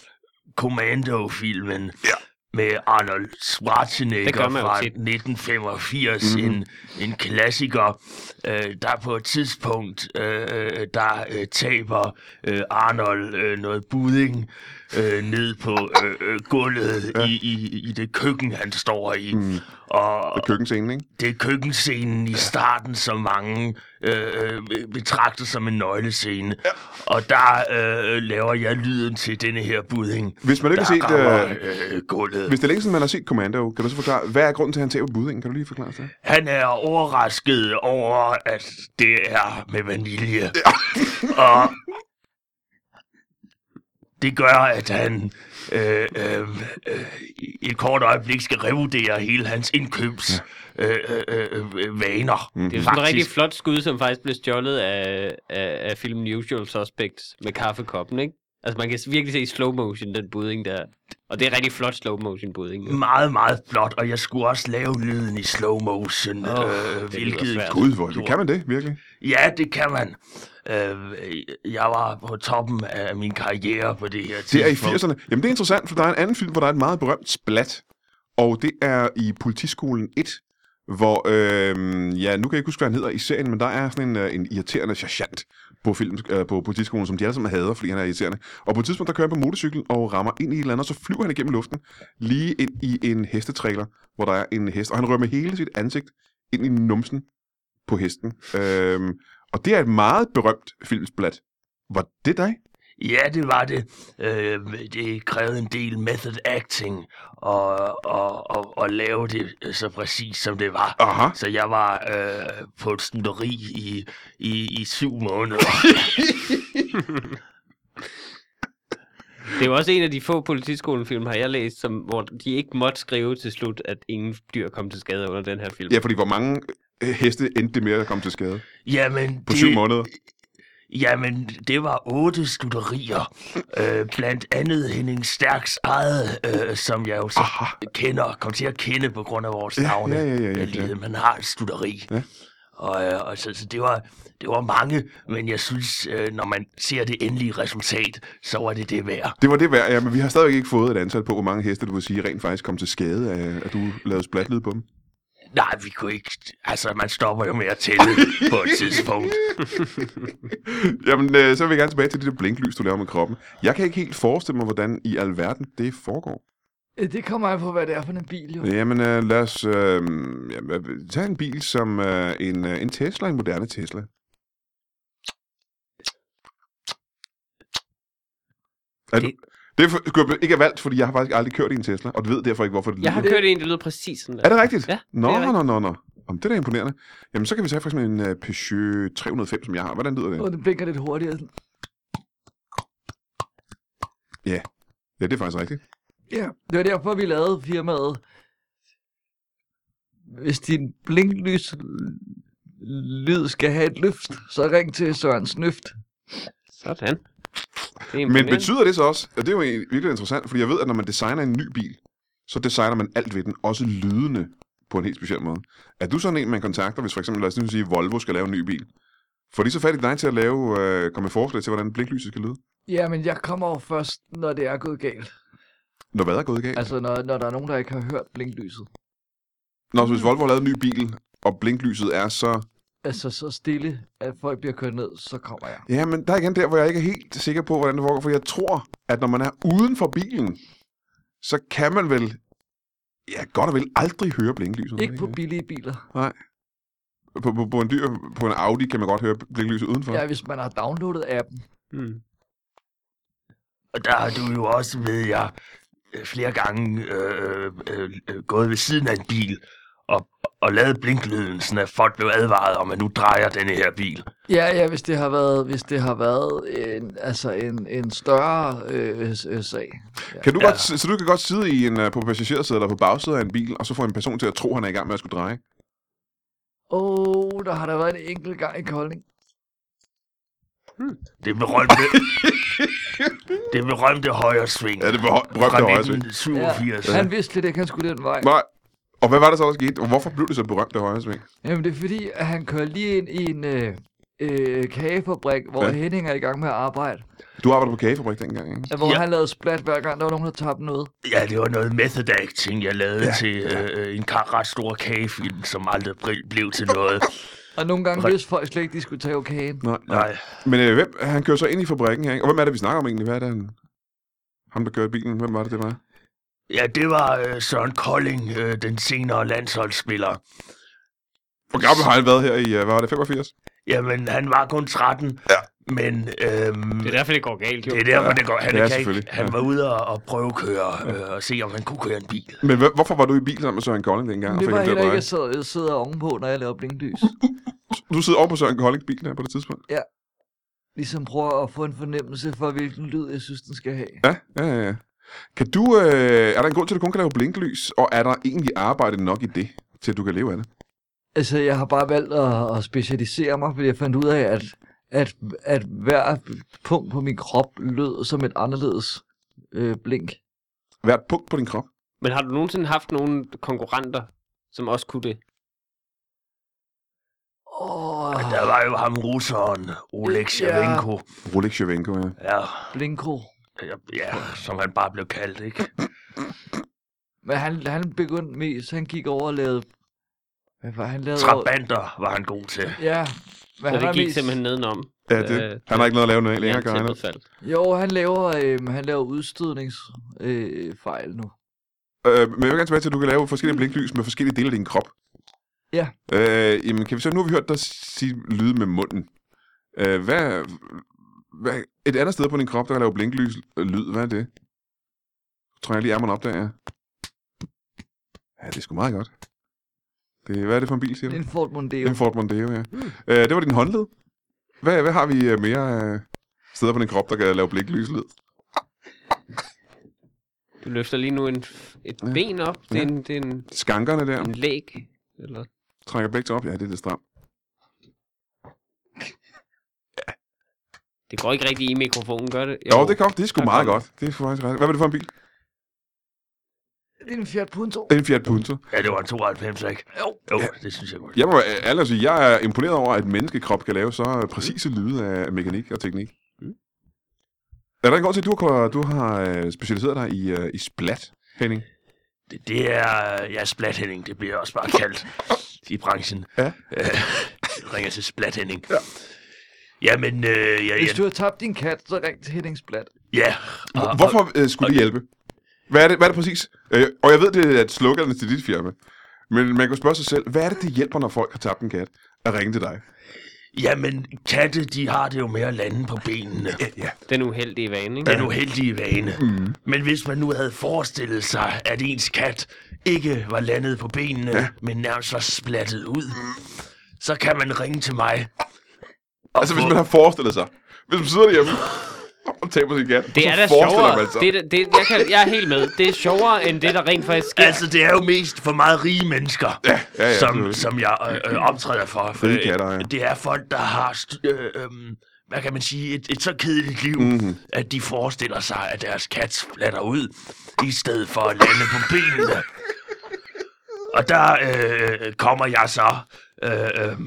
Speaker 3: Commando-filmen ja. med Arnold
Speaker 4: Det
Speaker 3: Schwarzenegger
Speaker 4: gør man jo
Speaker 3: fra
Speaker 4: tit.
Speaker 3: 1985, mm-hmm. en, en klassiker, øh, der på et tidspunkt, øh, der øh, taber øh, Arnold øh, noget budding øh, ned på øh, øh, gulvet ja. i, i, i det køkken, han står i. Mm. Og,
Speaker 1: Og køkkenscenen, ikke?
Speaker 3: det er køkkenscenen i starten, som mange øh, øh, betragter som en nøglescene. Ja. Og der øh, laver jeg lyden til denne her budding.
Speaker 1: Hvis man ikke
Speaker 3: der
Speaker 1: har set,
Speaker 3: rammer, øh, gulvet.
Speaker 1: Hvis det er længe siden, man har set Commando, kan du så forklare, hvad er grunden til, at han taber buddingen? Kan du lige forklare det?
Speaker 3: Han er overrasket over, at det er med vanilje. Ja. Og det gør, at han øh, øh, øh, i et kort øjeblik skal revurdere hele hans indkøbs øh, øh, øh, øh, vaner.
Speaker 1: Mm-hmm.
Speaker 3: Mm.
Speaker 4: Det er jo sådan et rigtig flot skud, som faktisk blev stjålet af, af, af filmen Usual Suspects med kaffekoppen, ikke? Altså, man kan virkelig se i slow motion, den budding der. Og det er rigtig flot slow motion budding. Mm.
Speaker 3: Meget, meget flot, og jeg skulle også lave lyden i slow motion,
Speaker 4: Åh, det
Speaker 3: oh, øh,
Speaker 4: lyder
Speaker 3: hvilket
Speaker 4: svært.
Speaker 1: Gud, hvor, kan man det virkelig?
Speaker 3: Ja, det kan man. Øh, jeg var på toppen af min karriere på det her
Speaker 1: Det er i
Speaker 3: tidspunkt.
Speaker 1: 80'erne. Jamen, det er interessant, for der er en anden film, hvor der er et meget berømt splat. Og det er i Politiskolen 1, hvor, øh, ja, nu kan jeg ikke huske, hvad han hedder i serien, men der er sådan en, øh, en irriterende sergeant på, film, øh, på politiskolen, som de alle sammen hader, fordi han er irriterende. Og på et tidspunkt, der kører han på motorcykel og rammer ind i et eller andet, og så flyver han igennem luften, lige ind i en hestetræler, hvor der er en hest, og han rører med hele sit ansigt ind i numsen på hesten. Øh, og det er et meget berømt filmsplat. Var det dig?
Speaker 3: Ja, det var det. Øh, det krævede en del method acting og, og, og, og lave det så præcis, som det var.
Speaker 1: Aha.
Speaker 3: Så jeg var øh, på et studeri i, i, i syv måneder.
Speaker 4: Det er jo også en af de få politiskolenfilm, har jeg læst, som, hvor de ikke måtte skrive til slut, at ingen dyr kom til skade under den her film.
Speaker 1: Ja, fordi hvor mange øh, heste endte det med at komme til skade
Speaker 3: Jamen,
Speaker 1: på
Speaker 3: det,
Speaker 1: syv måneder?
Speaker 3: Jamen, det var otte studerier. Øh, blandt andet Henning Stærks eget, øh, som jeg jo så
Speaker 1: Aha.
Speaker 3: kender, kom til at kende på grund af vores
Speaker 1: Ah. Ja,
Speaker 3: navne.
Speaker 1: ja, ja, ja, ja,
Speaker 3: Det er
Speaker 1: ja.
Speaker 3: lige, Man har et studeri.
Speaker 1: Ja.
Speaker 3: Og, øh, og så, så det, var, det var mange, men jeg synes, øh, når man ser det endelige resultat, så var det det værd.
Speaker 1: Det var det værd, ja, men vi har stadigvæk ikke fået et antal på, hvor mange heste, du vil sige, rent faktisk kom til skade af, at du lavede splatlyd på dem.
Speaker 3: Nej, vi kunne ikke... Altså, man stopper jo med at tælle på et tidspunkt.
Speaker 1: Jamen, øh, så vil jeg gerne tilbage til det der blinklys, du laver med kroppen. Jeg kan ikke helt forestille mig, hvordan i alverden det foregår.
Speaker 2: Øh, Det kommer an på, hvad det er for en bil, jo.
Speaker 1: Jamen, øh, lad os øh, jamen, øh, tage en bil som øh, en, øh, en Tesla, en moderne Tesla. Er det... Det for- skulle jeg ikke have valgt, fordi jeg har faktisk aldrig kørt i en Tesla, og du ved derfor ikke, hvorfor det
Speaker 4: Jeg har
Speaker 1: lyder.
Speaker 4: kørt en, der lyder præcis sådan der.
Speaker 1: Er det rigtigt?
Speaker 4: Ja,
Speaker 1: Nå,
Speaker 4: det er
Speaker 1: det er
Speaker 4: rigtigt.
Speaker 1: nå, nå, nå. Jamen, det er da imponerende. Jamen, så kan vi tage for eksempel en øh, Peugeot 305, som jeg har. Hvordan lyder det?
Speaker 2: Og den blinker lidt hurtigere. sådan.
Speaker 1: Ja, det er faktisk rigtigt.
Speaker 2: Ja, det var derfor, vi lavede firmaet. Hvis din blinklys lyd skal have et løft, så ring til Søren Snøft.
Speaker 4: Sådan. Det er
Speaker 1: Men
Speaker 4: imponerende.
Speaker 1: betyder det så også, og det er jo egentlig virkelig interessant, fordi jeg ved, at når man designer en ny bil, så designer man alt ved den, også lydende på en helt speciel måde. Er du sådan en, man kontakter, hvis for eksempel, lad os nu sige, Volvo skal lave en ny bil? Får de så fat i dig til at lave, øh, komme med forslag til, hvordan blinklyset skal lyde?
Speaker 2: Ja, men jeg kommer jo først, når det er gået galt.
Speaker 1: Når hvad er gået galt? Altså,
Speaker 2: Altså, når, når der er nogen, der ikke har hørt blinklyset.
Speaker 1: Når hvis Volvo har lavet en ny bil, og blinklyset er så
Speaker 2: Altså, så stille, at folk bliver kørt ned, så kommer jeg.
Speaker 1: Ja, men der er igen der, hvor jeg ikke er helt sikker på, hvordan det foregår, for jeg tror, at når man er uden for bilen, så kan man vel, ja, godt og vel aldrig høre blinklyset.
Speaker 2: Ikke på billige biler.
Speaker 1: Nej. På, på, på, en dyr, på en Audi kan man godt høre blinklyset udenfor.
Speaker 2: Ja, hvis man har downloadet appen.
Speaker 4: Mm.
Speaker 3: Og der har du jo også, ved jeg, øh, flere gange øh, øh, øh, gået ved siden af en bil og, og lavet blinklyden, sådan at folk blev advaret om, at nu drejer denne her bil.
Speaker 2: Ja, ja, hvis det har været, hvis det har været en, altså en, en større øh, øh, sag.
Speaker 1: Kan du
Speaker 3: Ja.
Speaker 1: godt, så du kan godt sidde i en, øh, på passagersædet eller på bagsædet af en bil, og så få en person til at tro, han er i gang med at skulle dreje.
Speaker 2: Åh, oh, der har der været en enkelt gang i Kolding.
Speaker 3: Det berømte... det berømte højre sving.
Speaker 1: Ja, det er berømt
Speaker 3: fra
Speaker 1: det højre sving.
Speaker 3: 1987.
Speaker 2: Ja, han vidste lidt ikke, han skulle den vej.
Speaker 1: Nej. Og hvad var det så, der skete? Og hvorfor blev det så berømt det højre sving?
Speaker 2: Jamen, det er fordi, at han kører lige ind i en øh, øh, kagefabrik, hvor
Speaker 1: Ja.
Speaker 2: ja. Henning er i gang med at arbejde.
Speaker 1: Du arbejdede på kagefabrik dengang, ikke?
Speaker 2: Hvor
Speaker 3: Ja.
Speaker 2: ja. han lavede splat hver gang, der var nogen, der tabte noget.
Speaker 3: Ja, det var noget method acting, jeg lavede ja, til øh, øh, en ka- ret stor kagefilm, som aldrig bri- blev til noget.
Speaker 2: Og nogle gange
Speaker 3: Right.
Speaker 2: vidste folk slet ikke, de skulle tage kagen.
Speaker 1: Nej.
Speaker 3: Nej.
Speaker 1: Men øh, hvem, han kører så ind i fabrikken her, ikke? Og hvem er det, vi snakker om egentlig? Hvad er det, han, ham, der kører bilen? Hvem var det, det var?
Speaker 3: Ja, det var øh, Søren Kolding, øh, den senere landsholdsspiller.
Speaker 1: Hvor gammel har han været her i, øh, hvad var det, 85?
Speaker 3: Jamen, han var kun 13, ja. men øhm,
Speaker 4: Det er derfor, det går galt, jo.
Speaker 3: det er derfor, det går.
Speaker 1: Ja,
Speaker 3: Han, kan ikke,
Speaker 1: selvfølgelig.
Speaker 3: han
Speaker 1: Ja.
Speaker 3: var ude og, og prøvekøre øh, og se, om han kunne køre en bil.
Speaker 1: Men hv- hvorfor var du i bil sammen med Søren Kolding dengang? og
Speaker 2: det
Speaker 1: fik
Speaker 2: var
Speaker 1: ham til at
Speaker 2: heller ikke,
Speaker 1: dreje?
Speaker 2: jeg sad, jeg sidder ovenpå, når jeg laver blinklys.
Speaker 1: Du sidder over på Søren Koldings bil der på det tidspunkt?
Speaker 2: Ligesom prøver at få en fornemmelse for, hvilken lyd, jeg synes, den skal have.
Speaker 1: Ja, ja, ja, ja. Kan du, øh, er der en grund til, at du kun kan lave blinklys, og er der egentlig arbejde nok i det, til at du kan leve af det?
Speaker 2: Altså, jeg har bare valgt at, at specialisere mig, fordi jeg fandt ud af, at, at, at hver punkt på min krop lød som et anderledes øh, blink.
Speaker 1: Hvert punkt på din krop.
Speaker 4: Men har du nogensinde haft nogle konkurrenter, som også kunne det?
Speaker 2: Åh,
Speaker 3: Og der var jo ham russeren, Oleg Shevchenko.
Speaker 1: Rolex Shevchenko, ja.
Speaker 3: Ja.
Speaker 2: Blinko.
Speaker 3: ja, ja, som han bare blev kaldt, ikke?
Speaker 2: Men han, han begyndte mest, han gik over og lavede... Hvad var han lavede?
Speaker 3: Trabanter var han god til.
Speaker 2: Ja, men
Speaker 4: Så
Speaker 2: han
Speaker 4: det
Speaker 2: var
Speaker 4: gik
Speaker 2: mest...
Speaker 4: simpelthen nedenom.
Speaker 1: Ja, det,
Speaker 4: Øh,
Speaker 1: han har ikke noget at lave noget længere, gør han?
Speaker 4: jerntæppet faldt.
Speaker 2: Jo, han laver, øh, han laver udstødningsfejl øh, fejl nu.
Speaker 1: Øh, men jeg vil gerne tilbage til, at du kan lave forskellige blinklys med forskellige dele af din krop.
Speaker 2: Mm. Ja.
Speaker 1: Øh, jamen, kan vi så, nu har vi hørt dig sige lyde med munden. Øh, hvad, hvad, et andet sted på din krop, der kan lave blinklys øh, lyd, hvad er det? Nu tror jeg lige ærmerne op der, ja. Ja, det er sgu meget godt. Det, hvad er det for en bil, siger du?
Speaker 2: En Ford Mondeo. Mm.
Speaker 1: En Ford Mondeo, ja. Øh, det var din håndled. Hvad, hvad har vi øh, mere øh, steder på din krop, der kan lave blinklys-lyd?
Speaker 4: Du løfter lige nu en, et
Speaker 1: Ja.
Speaker 4: ben op. Det
Speaker 1: Ja.
Speaker 4: er en, det er en,
Speaker 1: Skankerne der,
Speaker 2: Mm.
Speaker 4: en læg. Eller
Speaker 1: trækker begge op. Ja, det er lidt stramt.
Speaker 4: Det går ikke rigtig i mikrofonen, gør det?
Speaker 1: Jo, det kom. Det er sgu
Speaker 4: Der
Speaker 1: meget
Speaker 4: kom
Speaker 1: godt. Det er sgu faktisk ret. Hvad var det for en bil?
Speaker 2: Det er en Fiat Punto.
Speaker 1: Det er en Fiat Punto.
Speaker 3: Ja, det var en 92, ikke? Jo. Jo, det synes jeg godt.
Speaker 1: Jeg må være ærlig at sige, jeg er imponeret over, at menneskekrop kan lave så præcise lyde af mekanik og teknik. Er der en grund til, at du har, du har øh, specialiseret dig i, øh, i splat, Henning?
Speaker 3: Det, det er, ja, Splathænding, det bliver også bare kaldt i branchen.
Speaker 1: Ja.
Speaker 3: Øh, jeg ringer til Splathænding. Ja. Jamen, øh, ja,
Speaker 2: Hvis
Speaker 3: ja,
Speaker 2: du har tabt din kat, så ring til Henningsblat.
Speaker 3: ja. Og,
Speaker 1: Hvorfor øh, skulle det hjælpe? Hvad er det, hvad er det præcis? Øh, og jeg ved, det er et slogan til dit firma. Men man kan spørge sig selv, hvad er det, det hjælper, når folk har tabt en kat? At ringe til dig.
Speaker 3: Og, jamen, katte, de har det jo med at lande på benene.
Speaker 1: Ja.
Speaker 4: Den uheldige vane, ikke?
Speaker 3: Den uheldige vane. Mm. Men hvis man nu havde forestillet sig, at ens kat ikke var landet på benene, ja. men nærmest var splattet ud, så kan man ringe til mig. Og
Speaker 1: Altså, hvis
Speaker 3: få-
Speaker 1: man har forestillet sig. Hvis man sidder derhjemme og taber sin kat,
Speaker 4: Det er
Speaker 1: så
Speaker 4: da
Speaker 1: forestiller
Speaker 4: sjovere.
Speaker 1: man sig.
Speaker 4: Det, er da- det, jeg, kan, jeg er helt med. Det er sjovere, end det, der rent faktisk sker.
Speaker 3: Altså, det er jo mest for meget rige mennesker,
Speaker 1: Ja, ja, ja,
Speaker 3: som,
Speaker 1: selvfølgelig.
Speaker 3: som jeg øh, øh, optræder for. for øh,
Speaker 1: Rige katter, ja.
Speaker 3: Det er folk, der har, st- øh, øh, hvad kan man sige, et, et så kedeligt liv, mm-hmm.
Speaker 1: Mhm.
Speaker 3: at de forestiller sig, at deres kat flatter ud, i stedet for at lande på benene. Og der øh, kommer jeg så, øh, øh,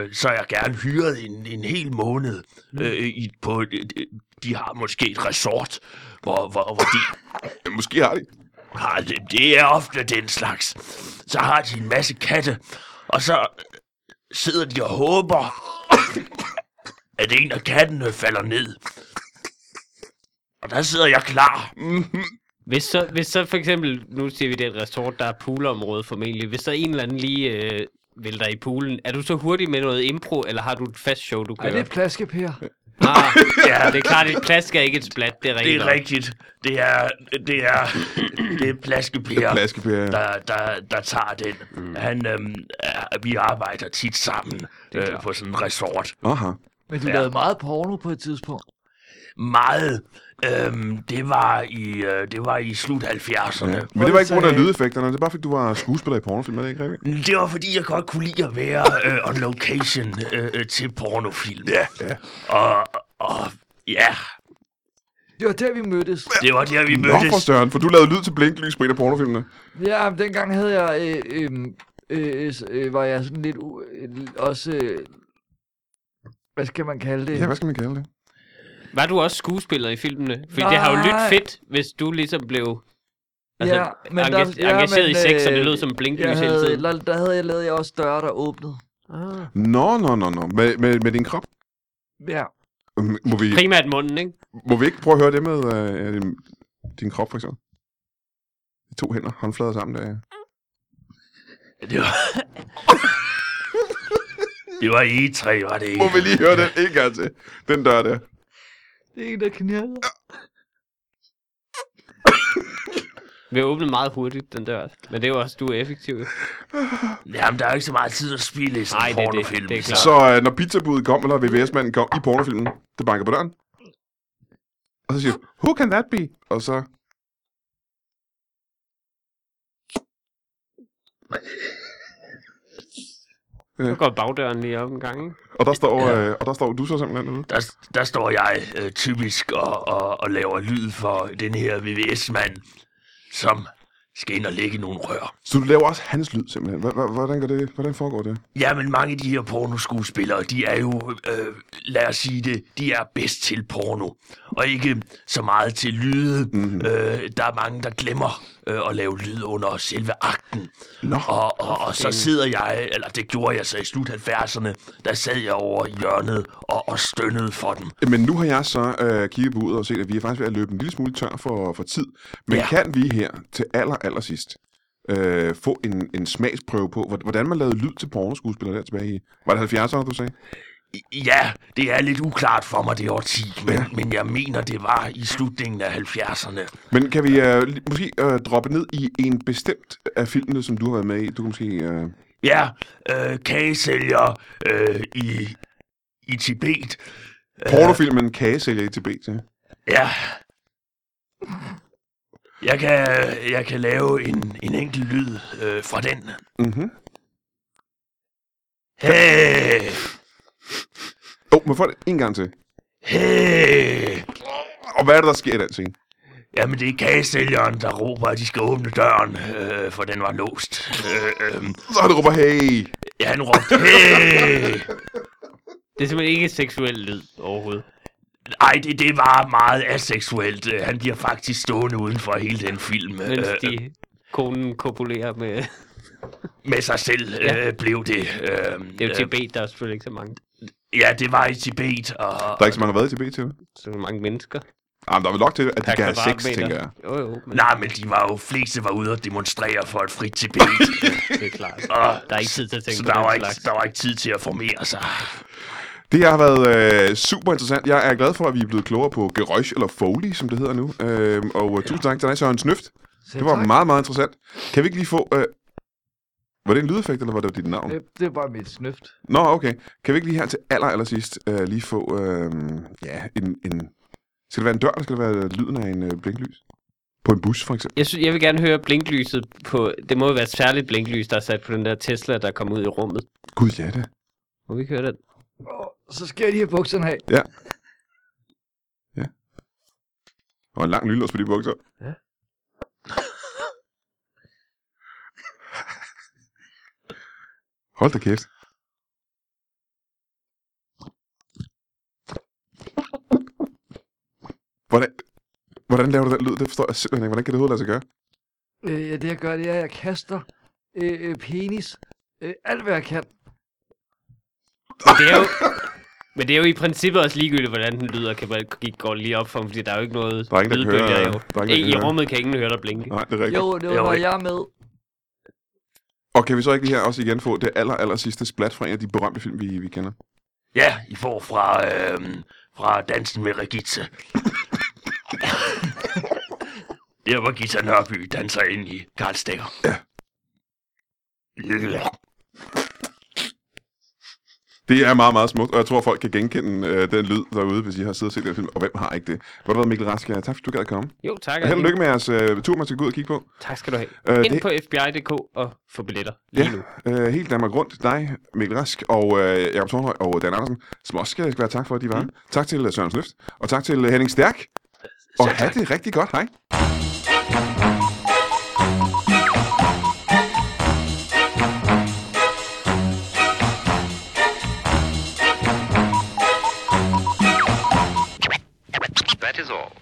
Speaker 3: øh, så er jeg gerne hyret en, en hel måned
Speaker 1: Mhm.
Speaker 3: øh, i, på, et- et- de har måske et resort, hvor, hvor, hvor de
Speaker 1: Måske har de.
Speaker 3: har Ah, det, det er ofte den slags. Så har de en masse katte, og så øh, sidder de og håber, at en af kattene falder ned. Og der sidder jeg klar.
Speaker 4: Hvis så, hvis så for eksempel, nu siger vi, det er et resort, der er poolområde formentlig. Hvis så en eller anden lige øh, vælter i poolen, er du så hurtig med noget impro, eller har du et fast show, du
Speaker 2: Ej,
Speaker 4: kører?
Speaker 2: det er plaskepære.
Speaker 4: ah,
Speaker 3: Ja,
Speaker 4: det er klart, et plask er ikke et splat, det er
Speaker 3: det
Speaker 4: rigtigt.
Speaker 3: er
Speaker 4: nok.
Speaker 3: rigtigt. Det er, det er, det er plaskepære,
Speaker 1: Plaskepære.
Speaker 3: der, der, der tager den.
Speaker 4: Mm.
Speaker 3: Han, øhm, er- vi arbejder tit sammen øh, på sådan en resort.
Speaker 1: Aha.
Speaker 2: Men du ja.
Speaker 3: Ja.
Speaker 2: lavede meget porno på et tidspunkt.
Speaker 3: Meget. Øhm, det var i, øh, det var i slut 70'erne.
Speaker 1: Ja. Men det var ikke på grund af lydeffekterne, det er bare fordi, du var skuespiller i pornofilm, er det ikke rigtigt?
Speaker 3: Det var fordi, jeg godt kunne lide at være øh, on location øh, øh, til pornofilm. Ja, ja. Og, og ja,
Speaker 2: Det var der, vi mødtes.
Speaker 3: det var der, vi
Speaker 1: Nå, for
Speaker 3: mødtes.
Speaker 1: Søren, for du lavede lyd til blinklys på en af pornofilmene.
Speaker 2: Ja, men dengang havde jeg... Øh, øh, øh, øh, var jeg sådan lidt... U- øh, også... Øh, hvad skal man kalde det?
Speaker 1: Ja, hvad skal man kalde det?
Speaker 4: Var du også skuespiller i filmene? Fordi det har jo lyttet
Speaker 2: Nej.
Speaker 4: fedt, hvis du ligesom blev altså,
Speaker 2: Ja, men
Speaker 4: enga-
Speaker 2: der- ja,
Speaker 4: engageret i
Speaker 2: men,
Speaker 4: sex, og det
Speaker 2: øh,
Speaker 4: lød som
Speaker 2: jeg
Speaker 4: blinklys hele
Speaker 2: havde,
Speaker 4: tiden.
Speaker 2: la- der havde jeg lavet jeg også døre, der åbnede.
Speaker 1: Nå, nå, nå, nå. Med, med, med din krop?
Speaker 2: Ja.
Speaker 1: Øhm, Må vi,
Speaker 4: Primært munden, ikke?
Speaker 1: må vi ikke prøve at høre det med øh, øh, din krop, for eksempel? De to hænder, håndflader sammen der. ja.
Speaker 3: Det var... det var I tre, var det ikke?
Speaker 1: Må vi lige høre den en gang til? Den dør der.
Speaker 2: Det er en, der knirker.
Speaker 4: Vi åbnede meget hurtigt, den dør. Men det er jo også, du er effektiv. jo.
Speaker 3: Jamen, der er jo ikke så meget tid at spille i sådan
Speaker 4: Nej,
Speaker 3: en
Speaker 4: det er det.
Speaker 3: pornofilm.
Speaker 4: Det er
Speaker 3: så-
Speaker 4: klart.
Speaker 1: Så øh, når pizzabuddet kom, eller VVS-manden kom i pornofilmen, det banker på døren. Og så siger du, who can that be? Og så...
Speaker 4: Så går bagdøren lige op en gang, ikke?
Speaker 1: Og der står, øh, og der står du så simpelthen derude.
Speaker 3: Der, der står jeg øh, typisk og, og, og laver lyd for den her VVS-mand, som skal ind og lægge nogle rør.
Speaker 1: Så du laver også hans lyd simpelthen. Hva- hva- Hvordan, gør det, hvordan foregår det?
Speaker 3: Ja, men mange af de her pornoskuespillere, de er jo, øh, lad os sige det, de er bedst til porno. Og ikke så meget til lyde. Mm-hmm. Øh, der er mange, der glemmer øh, at lave lyd under selve akten.
Speaker 1: Nå.
Speaker 3: Og, og, og så sidder jeg, eller det gjorde jeg så i slut 70'erne, der sad jeg over i hjørnet og, og stønnede for dem.
Speaker 1: Men nu har jeg så øh, kigget på ud og set, at vi er faktisk ved at løbe en lille smule tør for, for tid. Men ja.
Speaker 3: Ja.
Speaker 1: kan vi her til aller, aller sidst øh, få en, en smagsprøve på, hvor- hvordan man lavede lyd til pornoskuespillere der tilbage i... Var det 70'erne, du sagde?
Speaker 3: Ja, det er lidt uklart for mig det årti, men, ja. men jeg mener, det var i slutningen af 70'erne.
Speaker 1: Men kan vi øh, li- måske øh, droppe ned i en bestemt af filmene, som du har været med i? Du kan måske... Øh...
Speaker 3: Ja, øh, kagesælger øh, i, i Tibet.
Speaker 1: Pornofilmen Kagesælger i Tibet, ja.
Speaker 3: Ja. Jeg kan, jeg kan lave en, en enkelt lyd øh, fra den.
Speaker 1: Mm-hmm.
Speaker 3: Hey,
Speaker 1: Åh, oh, man får det en gang til.
Speaker 3: hey.
Speaker 1: Og hvad er det, der sker i den scene?
Speaker 3: Jamen, det er kagesælgeren, der råber, at de skal åbne døren, øh, for den var låst. Øh, øh,
Speaker 1: Så han råber, hey!
Speaker 3: ja, han råbte, hey.
Speaker 4: Det er simpelthen ikke seksuel lyd overhovedet.
Speaker 3: Ej, det, det var meget aseksuelt. Øh, Han bliver faktisk stående uden for hele den film.
Speaker 4: Mens
Speaker 3: øh,
Speaker 4: de konen kopulerer med...
Speaker 3: Med sig selv
Speaker 4: Ja.
Speaker 3: øh, blev det. Øh,
Speaker 4: Det er jo Tibet, der er selvfølgelig ikke så mange,
Speaker 3: Øh, ja, det var i Tibet. Og,
Speaker 1: Der er ikke så mange, der har været i Tibet til.
Speaker 4: så mange mennesker.
Speaker 1: Jamen, der er vel nok til, at de
Speaker 4: per
Speaker 1: kan have sex,
Speaker 4: kvadratmeter.
Speaker 1: tænker jeg.
Speaker 4: Jo, jo, men
Speaker 3: Nej, men de var jo fleste var ude og demonstrere for et frit Tibet.
Speaker 4: det er klart.
Speaker 3: og,
Speaker 4: Der er ikke tid til at tænke
Speaker 3: Øh, så
Speaker 4: på
Speaker 3: der
Speaker 4: den
Speaker 3: var, ikke,
Speaker 4: slags.
Speaker 3: der var ikke tid til at formere sig.
Speaker 1: Det har været øh, super interessant. Jeg er glad for, at vi er blevet klogere på Geräusch, eller Foley, som det hedder nu. Øh, og ja. tusind tak til dig, Søren Snøft. Det var meget, meget interessant. Kan vi ikke lige få... Øh, var det en lydeffekt, eller var det dit navn?
Speaker 2: Det, det var mit snøft.
Speaker 1: Nå, okay. Kan vi ikke lige her til aller, aller sidst øh, lige få... Øh, ja, en, en... Skal det være en dør, eller skal det være lyden af en øh, blinklys? På en bus, for eksempel.
Speaker 4: Jeg, synes, jeg vil gerne høre blinklyset på... Det må jo være et særligt blinklys, der er sat på den der Tesla, der kom ud i rummet.
Speaker 1: Gud, ja det.
Speaker 4: Må vi ikke høre den?
Speaker 2: Og så skal jeg lige have bukserne af.
Speaker 1: Ja. Ja. Og en lang lynlås på de bukser.
Speaker 2: Ja.
Speaker 1: Hold da kæft. Hvordan, hvordan laver du den lyd? Det forstår jeg simpelthen ikke. Hvordan kan det overhovedet lade sig gøre?
Speaker 2: Øh, ja, det jeg gør, det er, at jeg kaster øh, øh, penis. Øh, alt hvad jeg kan.
Speaker 4: Men det er jo... Men det er jo i princippet også ligegyldigt, hvordan den lyder, kan man ikke gå lige op for, dem, fordi der er jo ikke noget
Speaker 1: Der er ingen, der kan høre-
Speaker 4: lydbølger
Speaker 1: der er
Speaker 4: jo.
Speaker 1: ingen, der
Speaker 4: I
Speaker 1: kan høre.
Speaker 4: rummet kan ingen høre dig blinke.
Speaker 1: Nej, det er rigtigt.
Speaker 2: Jo,
Speaker 1: Jo.
Speaker 2: det var,
Speaker 3: Jo,
Speaker 2: når
Speaker 3: ikke.
Speaker 2: jeg er med.
Speaker 1: Og kan vi så ikke lige her også igen få det aller, aller sidste splat fra en af de berømte film, vi, vi kender?
Speaker 3: Ja, I får fra, øh, fra dansen med Regitze. det var Gita Nørby danser ind i Karl Stikker. Ja.
Speaker 1: Det er meget, meget smukt, og jeg tror, folk kan genkende øh, den lyd derude, hvis I har siddet og set den film. Og hvem har ikke det? Hvor har du Mikkel Rask? Tak, fordi du gad at komme.
Speaker 4: Jo, tak.
Speaker 1: Og held og
Speaker 4: Arne.
Speaker 1: lykke med jeres øh, tur, man skal gå ud og kigge på.
Speaker 4: Tak skal du have.
Speaker 1: Øh,
Speaker 4: Ind
Speaker 1: det-
Speaker 4: på fbi.dk og få billetter lige
Speaker 1: Ja,
Speaker 4: nu.
Speaker 1: øh, helt Danmark rundt. Dig, Mikkel Rask og øh, Jakob Tornhøj og Dan Andersen, som også skal, skal være tak for, at de var mm. Tak til øh, Søren Snøft, og tak til øh, Henning Stærk. Og have det rigtig godt. Hej.
Speaker 6: That is all.